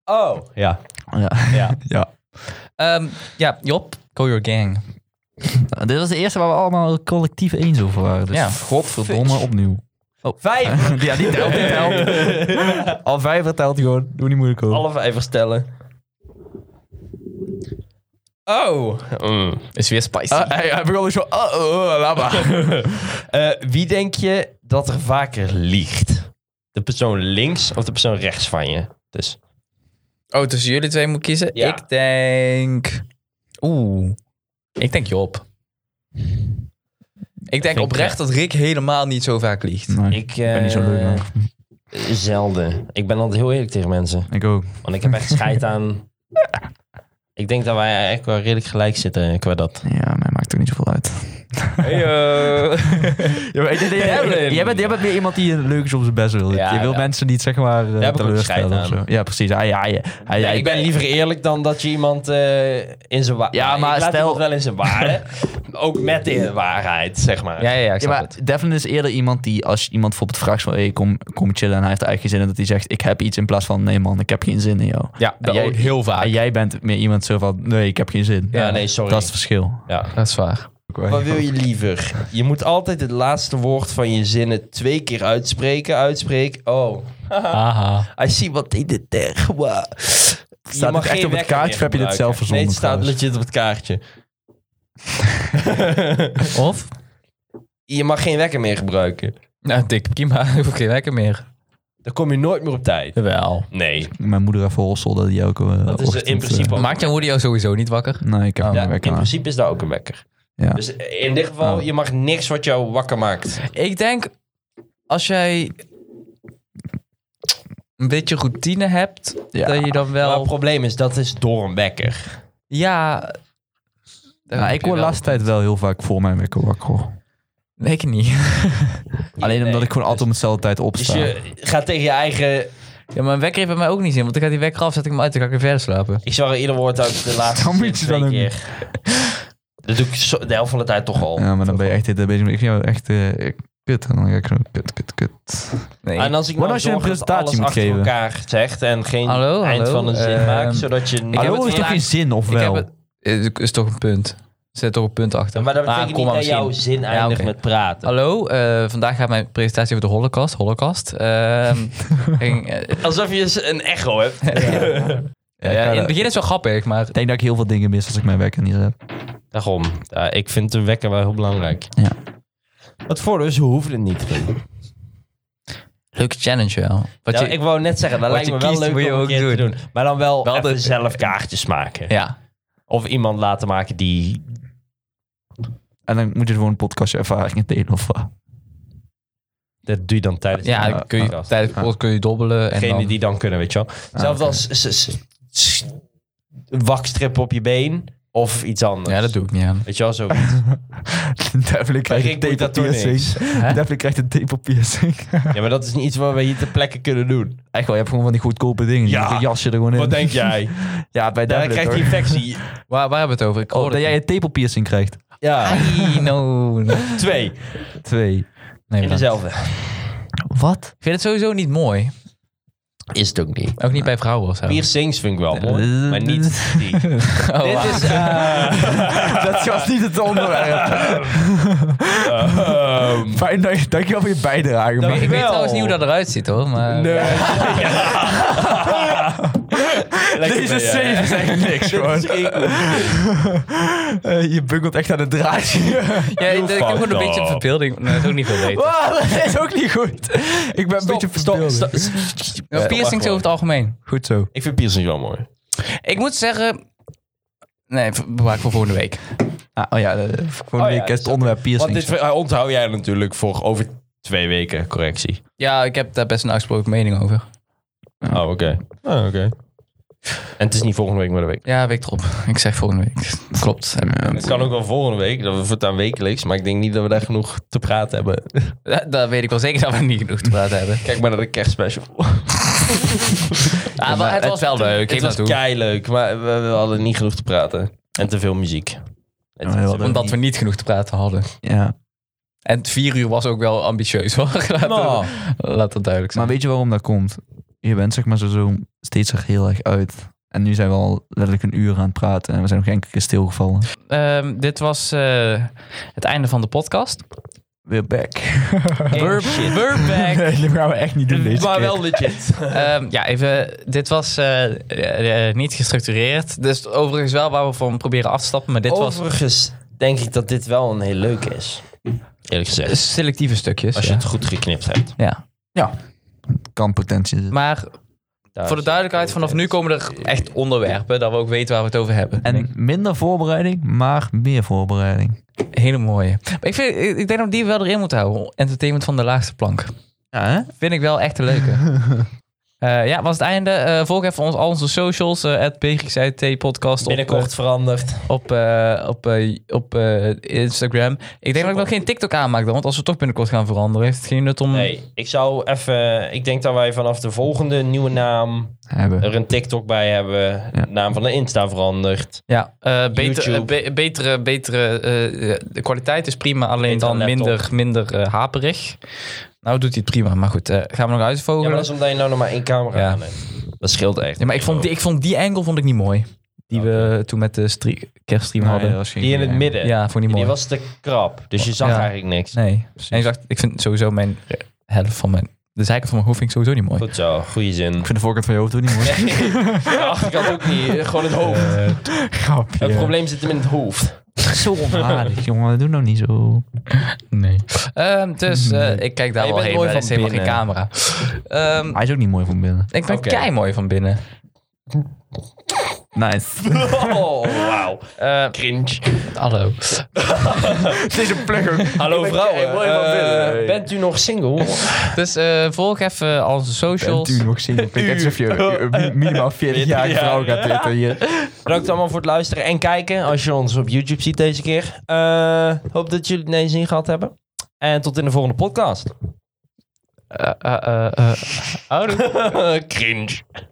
[SPEAKER 3] Oh, ja.
[SPEAKER 2] Ja.
[SPEAKER 3] ja.
[SPEAKER 2] ja.
[SPEAKER 1] ehm, ja, Job, go your gang.
[SPEAKER 2] Nou, Dit was de eerste waar we allemaal collectief eens over waren. Dus
[SPEAKER 1] Ja.
[SPEAKER 2] godverdomme opnieuw.
[SPEAKER 3] Vijf.
[SPEAKER 2] ja, die telt, die telt. Al vijf vertelt gewoon. Doe niet moeilijk over.
[SPEAKER 3] Alle vijf vertellen. Oh.
[SPEAKER 2] Hm.
[SPEAKER 1] Is weer spicy.
[SPEAKER 2] Ah, hij, hij begon dus zo... Oh, oh, laat maar.
[SPEAKER 3] Eh, wie denk je dat er vaker liegt? De persoon links of de persoon rechts van je? Dus
[SPEAKER 1] Oh, tussen jullie twee moet ik kiezen?
[SPEAKER 3] Ja.
[SPEAKER 1] Ik denk... Oeh. Ik denk Job. Ik denk
[SPEAKER 3] ik
[SPEAKER 1] oprecht dat Rick helemaal niet zo vaak liegt.
[SPEAKER 2] Nee,
[SPEAKER 3] ik eh,
[SPEAKER 2] ben niet zo leuk, maar.
[SPEAKER 3] Zelden. Ik ben altijd heel eerlijk tegen mensen.
[SPEAKER 2] Ik ook.
[SPEAKER 3] Want ik heb echt scheid aan. Ik denk dat wij eigenlijk wel redelijk gelijk zitten qua dat.
[SPEAKER 2] Ja, mij maakt ook niet zoveel uit. eh. Ja, maar ik denk dat jij-
[SPEAKER 3] Ellen.
[SPEAKER 2] jij, bent, jij bent weer iemand die leuk is op zijn best wil.
[SPEAKER 3] Ja,
[SPEAKER 2] je wil
[SPEAKER 3] ja.
[SPEAKER 2] mensen niet zeg maar eh,
[SPEAKER 3] heb ik ook
[SPEAKER 2] teleurstellen of
[SPEAKER 3] scheid
[SPEAKER 2] zo. Ja, precies. Hij, hij, hij, hij-
[SPEAKER 3] Ah, ik ben liever eerlijk dan dat je iemand eh, in zijn waarde.
[SPEAKER 2] Ja, maar stel-
[SPEAKER 3] wel in zijn waarde. ook met de waarheid, zeg maar.
[SPEAKER 1] Ja, ja, ja, ik
[SPEAKER 2] Ja,
[SPEAKER 1] snap
[SPEAKER 2] maar
[SPEAKER 1] het.
[SPEAKER 2] Devlin is eerder iemand die als je iemand bijvoorbeeld vraagt van... Hey, kom, kom chillen en hij heeft er eigenlijk geen zin in dat hij zegt... ik heb iets in plaats van nee man, ik heb geen zin in jou.
[SPEAKER 1] Ja, dat
[SPEAKER 2] jij-
[SPEAKER 1] ook heel vaak.
[SPEAKER 2] En jij bent meer iemand zo van nee, ik heb geen zin.
[SPEAKER 3] Ja, nee, sorry.
[SPEAKER 2] Dat is het verschil.
[SPEAKER 3] Ja.
[SPEAKER 1] Dat is waar.
[SPEAKER 3] Wat wil je liever? Je moet altijd het laatste woord van je zinnen twee keer uitspreken. Uitspreken. Oh,
[SPEAKER 1] Ah. Aha.
[SPEAKER 3] I see what they did there. Wow.
[SPEAKER 2] Staat het echt op het kaartje of heb je dit zelf verzonnen
[SPEAKER 3] Nee, het staat
[SPEAKER 2] trouwens?
[SPEAKER 3] legit op het kaartje.
[SPEAKER 1] Of?
[SPEAKER 3] je mag geen wekker meer gebruiken.
[SPEAKER 1] Nou, dik prima. Ik hoef geen wekker meer.
[SPEAKER 3] Dan kom je nooit meer op tijd.
[SPEAKER 1] Wel.
[SPEAKER 3] Nee.
[SPEAKER 2] Mijn moeder heeft verholsteld dat die ook... eh,
[SPEAKER 3] dus- Dat is
[SPEAKER 2] ochtend,
[SPEAKER 3] in principe ook.
[SPEAKER 1] Maakt jouw moeder jou sowieso niet wakker?
[SPEAKER 2] eh, nee, ik heb
[SPEAKER 1] Oh,
[SPEAKER 2] geen
[SPEAKER 3] Ja, in
[SPEAKER 2] wekker aan.
[SPEAKER 3] principe is dat ook een wekker.
[SPEAKER 2] Ja.
[SPEAKER 3] Dus in dit geval,
[SPEAKER 2] Oh.
[SPEAKER 3] je mag niks wat jou wakker maakt.
[SPEAKER 1] Ik denk, als jij een beetje routine hebt,
[SPEAKER 2] Ja.
[SPEAKER 1] dat je dan
[SPEAKER 3] Maar
[SPEAKER 1] wel...
[SPEAKER 3] het probleem is, dat is door een wekker.
[SPEAKER 1] ja... daar
[SPEAKER 2] Nou,
[SPEAKER 1] heb
[SPEAKER 2] ik
[SPEAKER 1] je
[SPEAKER 2] word
[SPEAKER 1] wel-
[SPEAKER 2] laatst tijd wel heel vaak voor mijn wekker wakker. hoor.
[SPEAKER 1] Nee, ik niet.
[SPEAKER 2] Alleen omdat
[SPEAKER 3] Nee.
[SPEAKER 2] ik gewoon altijd om hetzelfde tijd
[SPEAKER 3] Dus
[SPEAKER 2] opsta.
[SPEAKER 3] je gaat tegen je eigen...
[SPEAKER 1] Ja, maar een wekker heeft bij mij ook niet zin. Want ik ga die wekker af, zet ik hem uit, dan ga ik weer verder slapen.
[SPEAKER 3] Ik zag ieder woord uit de laatste
[SPEAKER 2] Dan moet je
[SPEAKER 3] twee
[SPEAKER 2] dan
[SPEAKER 3] keer. Dat doe ik zo- de helft van de tijd toch al.
[SPEAKER 2] Ja, maar dan ben je echt dit bezig. met- Ik vind jou echt eh, kut. En dan ga ik zo kut, kut, kut.
[SPEAKER 1] Nee.
[SPEAKER 3] En als ik nou
[SPEAKER 2] Wat als je
[SPEAKER 3] zorg
[SPEAKER 2] een
[SPEAKER 3] dat
[SPEAKER 2] presentatie
[SPEAKER 3] alles
[SPEAKER 2] moet
[SPEAKER 3] achter
[SPEAKER 2] geven?
[SPEAKER 3] elkaar zegt en geen
[SPEAKER 1] Hallo,
[SPEAKER 3] eind
[SPEAKER 1] hallo,
[SPEAKER 3] van een zin
[SPEAKER 1] ehm,
[SPEAKER 3] maakt, zodat je...
[SPEAKER 1] heb
[SPEAKER 2] Hallo
[SPEAKER 1] het
[SPEAKER 2] is toch
[SPEAKER 1] vandaag-
[SPEAKER 2] geen zin, of
[SPEAKER 1] ik
[SPEAKER 2] wel?
[SPEAKER 1] heb het, het Eh, is toch een punt. Er zit toch een punt achter.
[SPEAKER 3] Maar dat betekent
[SPEAKER 1] Ah,
[SPEAKER 3] niet
[SPEAKER 1] komma
[SPEAKER 3] dat jouw
[SPEAKER 1] misschien.
[SPEAKER 3] zin
[SPEAKER 1] Ja,
[SPEAKER 3] eindigt
[SPEAKER 1] oké.
[SPEAKER 3] met praten.
[SPEAKER 1] Hallo, eh, vandaag gaat mijn presentatie over de holocaust. Holocaust. Ehm, ging, eh,
[SPEAKER 3] Alsof je eens een echo hebt.
[SPEAKER 1] ja, in het begin is het wel grappig, maar
[SPEAKER 2] Ik denk dat ik heel veel dingen mis als ik mijn wekker niet zet.
[SPEAKER 3] Daarom. Ja, ik vind de wekker wel heel belangrijk.
[SPEAKER 2] Ja.
[SPEAKER 3] Het voordeel is, we hoeven het niet te doen.
[SPEAKER 1] leuke challenge wel. Wat
[SPEAKER 3] Ja,
[SPEAKER 1] je,
[SPEAKER 3] ik wou net zeggen, dat
[SPEAKER 1] wat je
[SPEAKER 3] lijkt me wel
[SPEAKER 1] kiest,
[SPEAKER 3] leuk
[SPEAKER 1] moet je
[SPEAKER 3] om een
[SPEAKER 1] ook
[SPEAKER 3] keer te
[SPEAKER 1] doen.
[SPEAKER 3] doen. Maar dan wel,
[SPEAKER 1] Wel
[SPEAKER 3] even
[SPEAKER 1] de-
[SPEAKER 3] zelf kaartjes maken.
[SPEAKER 1] ja.
[SPEAKER 3] Of iemand laten maken die...
[SPEAKER 2] En dan moet je gewoon een podcastje ervaringen delen of wat.
[SPEAKER 3] Dat doe je dan tijdens
[SPEAKER 1] ja,
[SPEAKER 3] de
[SPEAKER 1] dan kun je,
[SPEAKER 3] podcast.
[SPEAKER 1] tijdens de podcast kun je dobbelen. En
[SPEAKER 3] Degene
[SPEAKER 1] dan,
[SPEAKER 3] die dan kunnen, weet je wel. Zelfs
[SPEAKER 2] oké.
[SPEAKER 3] als s- s- s- een wakstrip op je been of iets anders.
[SPEAKER 1] ja, dat doe ik niet aan.
[SPEAKER 3] Weet je wel, zo.
[SPEAKER 2] Definitely krijgt
[SPEAKER 3] Rick
[SPEAKER 2] een
[SPEAKER 3] doet dat door
[SPEAKER 2] tepelpiercing. Definitely krijgt een tepelpiercing.
[SPEAKER 3] Ja, maar dat is niet iets wat we hier ter plekke kunnen doen.
[SPEAKER 2] Echt wel, je hebt gewoon van die goedkope dingen.
[SPEAKER 3] Ja.
[SPEAKER 2] Ja. Je jasje er gewoon in.
[SPEAKER 3] Wat denk jij?
[SPEAKER 2] Ja, bij
[SPEAKER 3] Daar
[SPEAKER 2] Devlin
[SPEAKER 3] krijgt hij
[SPEAKER 2] hoor.
[SPEAKER 3] infectie.
[SPEAKER 1] Waar, waar hebben we het over? Ik
[SPEAKER 2] Oh, dat jij een tepelpiercing krijgt.
[SPEAKER 3] Ja,
[SPEAKER 1] Ai, no. Nee,
[SPEAKER 3] twee.
[SPEAKER 2] Twee.
[SPEAKER 3] In
[SPEAKER 1] bedankt.
[SPEAKER 3] dezelfde.
[SPEAKER 2] Wat?
[SPEAKER 1] Ik vind het sowieso niet mooi.
[SPEAKER 3] Is het ook niet.
[SPEAKER 1] Ook niet bij vrouwen of zo.
[SPEAKER 3] Piercings vind ik wel mooi,
[SPEAKER 2] Eh,
[SPEAKER 3] maar niet die.
[SPEAKER 1] Oh,
[SPEAKER 3] Dit
[SPEAKER 1] wauw.
[SPEAKER 3] is... eh,
[SPEAKER 2] Dat was niet het onderwerp.
[SPEAKER 3] ehm,
[SPEAKER 2] Fijn, dank- dankjewel voor je bijdrage.
[SPEAKER 3] Dank
[SPEAKER 2] man.
[SPEAKER 1] Ik
[SPEAKER 3] je.
[SPEAKER 1] weet
[SPEAKER 3] Wel.
[SPEAKER 1] trouwens niet hoe dat eruit ziet hoor, maar...
[SPEAKER 3] nee.
[SPEAKER 2] Deze
[SPEAKER 3] lekker ben jij.
[SPEAKER 2] safe is echt niks, gewoon. Eh, je bungelt echt aan het draadje.
[SPEAKER 1] Ja, ik heb gewoon een
[SPEAKER 3] fucked
[SPEAKER 1] beetje een
[SPEAKER 3] up.
[SPEAKER 1] verbeelding. Nee, dat is ook niet veel beter.
[SPEAKER 2] Wow, dat is ook niet goed. Ik ben een beetje verbeelding.
[SPEAKER 1] Ja, piercings
[SPEAKER 3] gewoon.
[SPEAKER 1] over het algemeen.
[SPEAKER 2] Goed zo.
[SPEAKER 3] Ik vind piercings wel mooi.
[SPEAKER 1] Ik moet zeggen... Nee, v- bewaar ik voor volgende week.
[SPEAKER 2] Ah, oh ja, eh, volgende
[SPEAKER 3] Oh ja,
[SPEAKER 2] week is het onderwerp
[SPEAKER 3] Want
[SPEAKER 2] piercings.
[SPEAKER 3] dit ver- ah, onthoud jij natuurlijk voor over twee weken correctie.
[SPEAKER 1] Ja, ik heb daar best een uitgesproken mening over.
[SPEAKER 3] Oh, oké. Oh, oké. En het is niet volgende week, maar de week.
[SPEAKER 1] Ja, week erop. Ik zeg volgende week. Klopt. eh,
[SPEAKER 3] Het kan ook wel volgende week, dat we het aan wekelijks, maar ik denk niet dat we daar genoeg te praten hebben.
[SPEAKER 1] Dat, dat weet ik wel zeker dat we niet genoeg te praten hebben.
[SPEAKER 3] Kijk maar naar de kerstspecial.
[SPEAKER 1] Ah, maar het was wel leuk.
[SPEAKER 3] Het Eh,
[SPEAKER 1] Ik
[SPEAKER 3] was
[SPEAKER 1] naartoe.
[SPEAKER 3] kei leuk, maar we, we hadden niet genoeg te praten. En te veel muziek. Het-
[SPEAKER 2] Ja, heel leuk.
[SPEAKER 1] Omdat we niet genoeg te praten hadden.
[SPEAKER 2] Ja.
[SPEAKER 1] En het vier uur was ook wel ambitieus hoor. Laat,
[SPEAKER 3] Nou.
[SPEAKER 1] dat, laat dat duidelijk zijn.
[SPEAKER 2] Maar weet je waarom dat komt? Je bent zeg maar zo, zo steeds er heel erg uit. En nu zijn we al letterlijk een uur aan het praten en we zijn nog geen enkele keer stilgevallen.
[SPEAKER 1] Ehm, dit was eh, het einde van de podcast.
[SPEAKER 2] We're back.
[SPEAKER 1] We're, we're back.
[SPEAKER 2] dat gaan we echt niet doen deze
[SPEAKER 3] maar
[SPEAKER 2] keer.
[SPEAKER 3] wel legit.
[SPEAKER 1] Ehm, ja, even. Dit was eh, eh, eh, niet gestructureerd. Dus overigens wel waar we van proberen af te stappen. Maar dit
[SPEAKER 3] Overigens denk ik dat dit wel een heel leuk is. Eerlijk gezegd.
[SPEAKER 1] was selectieve stukjes.
[SPEAKER 3] Als je
[SPEAKER 1] ja.
[SPEAKER 3] het goed geknipt hebt.
[SPEAKER 1] Ja.
[SPEAKER 2] Kan potentie zitten.
[SPEAKER 1] Maar voor de duidelijkheid, vanaf nu komen er echt onderwerpen. Dat we ook weten waar we het over hebben.
[SPEAKER 2] En minder voorbereiding, maar meer voorbereiding.
[SPEAKER 1] Hele mooie. Maar ik, vind, ik, ik denk dat we die wel erin moeten houden. Entertainment van de laagste plank.
[SPEAKER 2] Ja, hè?
[SPEAKER 1] Vind ik wel echt een leuke. Eh, ja, was het einde. Eh, volg even ons, al onze socials. Eh, Het podcast op,
[SPEAKER 3] Binnenkort veranderd.
[SPEAKER 1] eh, op, eh, op, eh, op eh, Instagram. Ik denk dat ik nog geen TikTok aanmaak dan. Want als we toch binnenkort gaan veranderen, heeft het geen nut om...
[SPEAKER 3] Nee, ik zou even. Ik denk dat wij vanaf de volgende nieuwe naam
[SPEAKER 2] Hebben.
[SPEAKER 3] er een TikTok bij hebben.
[SPEAKER 2] Ja.
[SPEAKER 3] De naam van de Insta veranderd.
[SPEAKER 1] Ja, eh, beter,
[SPEAKER 3] YouTube.
[SPEAKER 1] eh, be- betere, betere eh, de kwaliteit is prima. Alleen
[SPEAKER 3] Betere
[SPEAKER 1] dan
[SPEAKER 3] laptop.
[SPEAKER 1] minder, minder eh, haperig. Nou doet hij het prima. Maar goed, eh, gaan we nog
[SPEAKER 3] Ja,
[SPEAKER 1] uitvogelen.
[SPEAKER 3] maar dat is omdat je nou nog maar één camera
[SPEAKER 1] Ja.
[SPEAKER 3] aan hebt. Dat scheelt echt.
[SPEAKER 1] Ja, maar ik vond, die, ik vond die angle vond ik niet mooi. Die we toen met de stre- kerststream hadden. Ja,
[SPEAKER 3] Die in het midden.
[SPEAKER 1] vond ik niet
[SPEAKER 3] Die
[SPEAKER 1] mooi.
[SPEAKER 3] was te krap. Dus je zag
[SPEAKER 1] Ja.
[SPEAKER 3] eigenlijk niks.
[SPEAKER 1] Nee. En ik dacht, ik vind sowieso mijn eh, helft van mijn... De zijkant van mijn hoofd vind ik sowieso niet mooi.
[SPEAKER 3] Goed zo, goede zin.
[SPEAKER 2] Ik vind de voorkant van je hoofd ook niet mooi.
[SPEAKER 3] Ja, ik had ook niet. Gewoon het hoofd.
[SPEAKER 2] Grapje.
[SPEAKER 3] Het probleem zit hem in het hoofd.
[SPEAKER 2] zo onaardig, jongen. Doe nou niet zo.
[SPEAKER 1] Nee. dus eh, ik kijk daar
[SPEAKER 3] Maar je
[SPEAKER 1] wel
[SPEAKER 3] bent
[SPEAKER 1] heen.
[SPEAKER 3] mooi
[SPEAKER 1] maar Er is
[SPEAKER 3] van
[SPEAKER 1] helemaal geen
[SPEAKER 3] binnen.
[SPEAKER 1] camera. Ehm,
[SPEAKER 2] Hij is ook niet mooi van binnen.
[SPEAKER 1] ik ben
[SPEAKER 3] Oké.
[SPEAKER 1] kei mooi van binnen.
[SPEAKER 2] Nice.
[SPEAKER 3] Oh, wauw.
[SPEAKER 1] Eh,
[SPEAKER 3] Cringe.
[SPEAKER 1] hallo.
[SPEAKER 2] Deze plug ook.
[SPEAKER 3] Hallo vrouwen. Eh, bent u nog single?
[SPEAKER 1] Dus eh, volg even al onze socials.
[SPEAKER 2] Natuurlijk nog single. Ik denk net alsof je eh, eh, minimaal 40 jaar
[SPEAKER 3] Ja.
[SPEAKER 2] vrouw gaat zitten hier.
[SPEAKER 3] Bedankt allemaal voor het luisteren en kijken. Als je ons op YouTube ziet deze keer. Eh, hoop dat jullie het ineens in gehad hebben. En tot in de volgende podcast.
[SPEAKER 1] Eh, eh, eh, eh. Houdoe.
[SPEAKER 3] Cringe.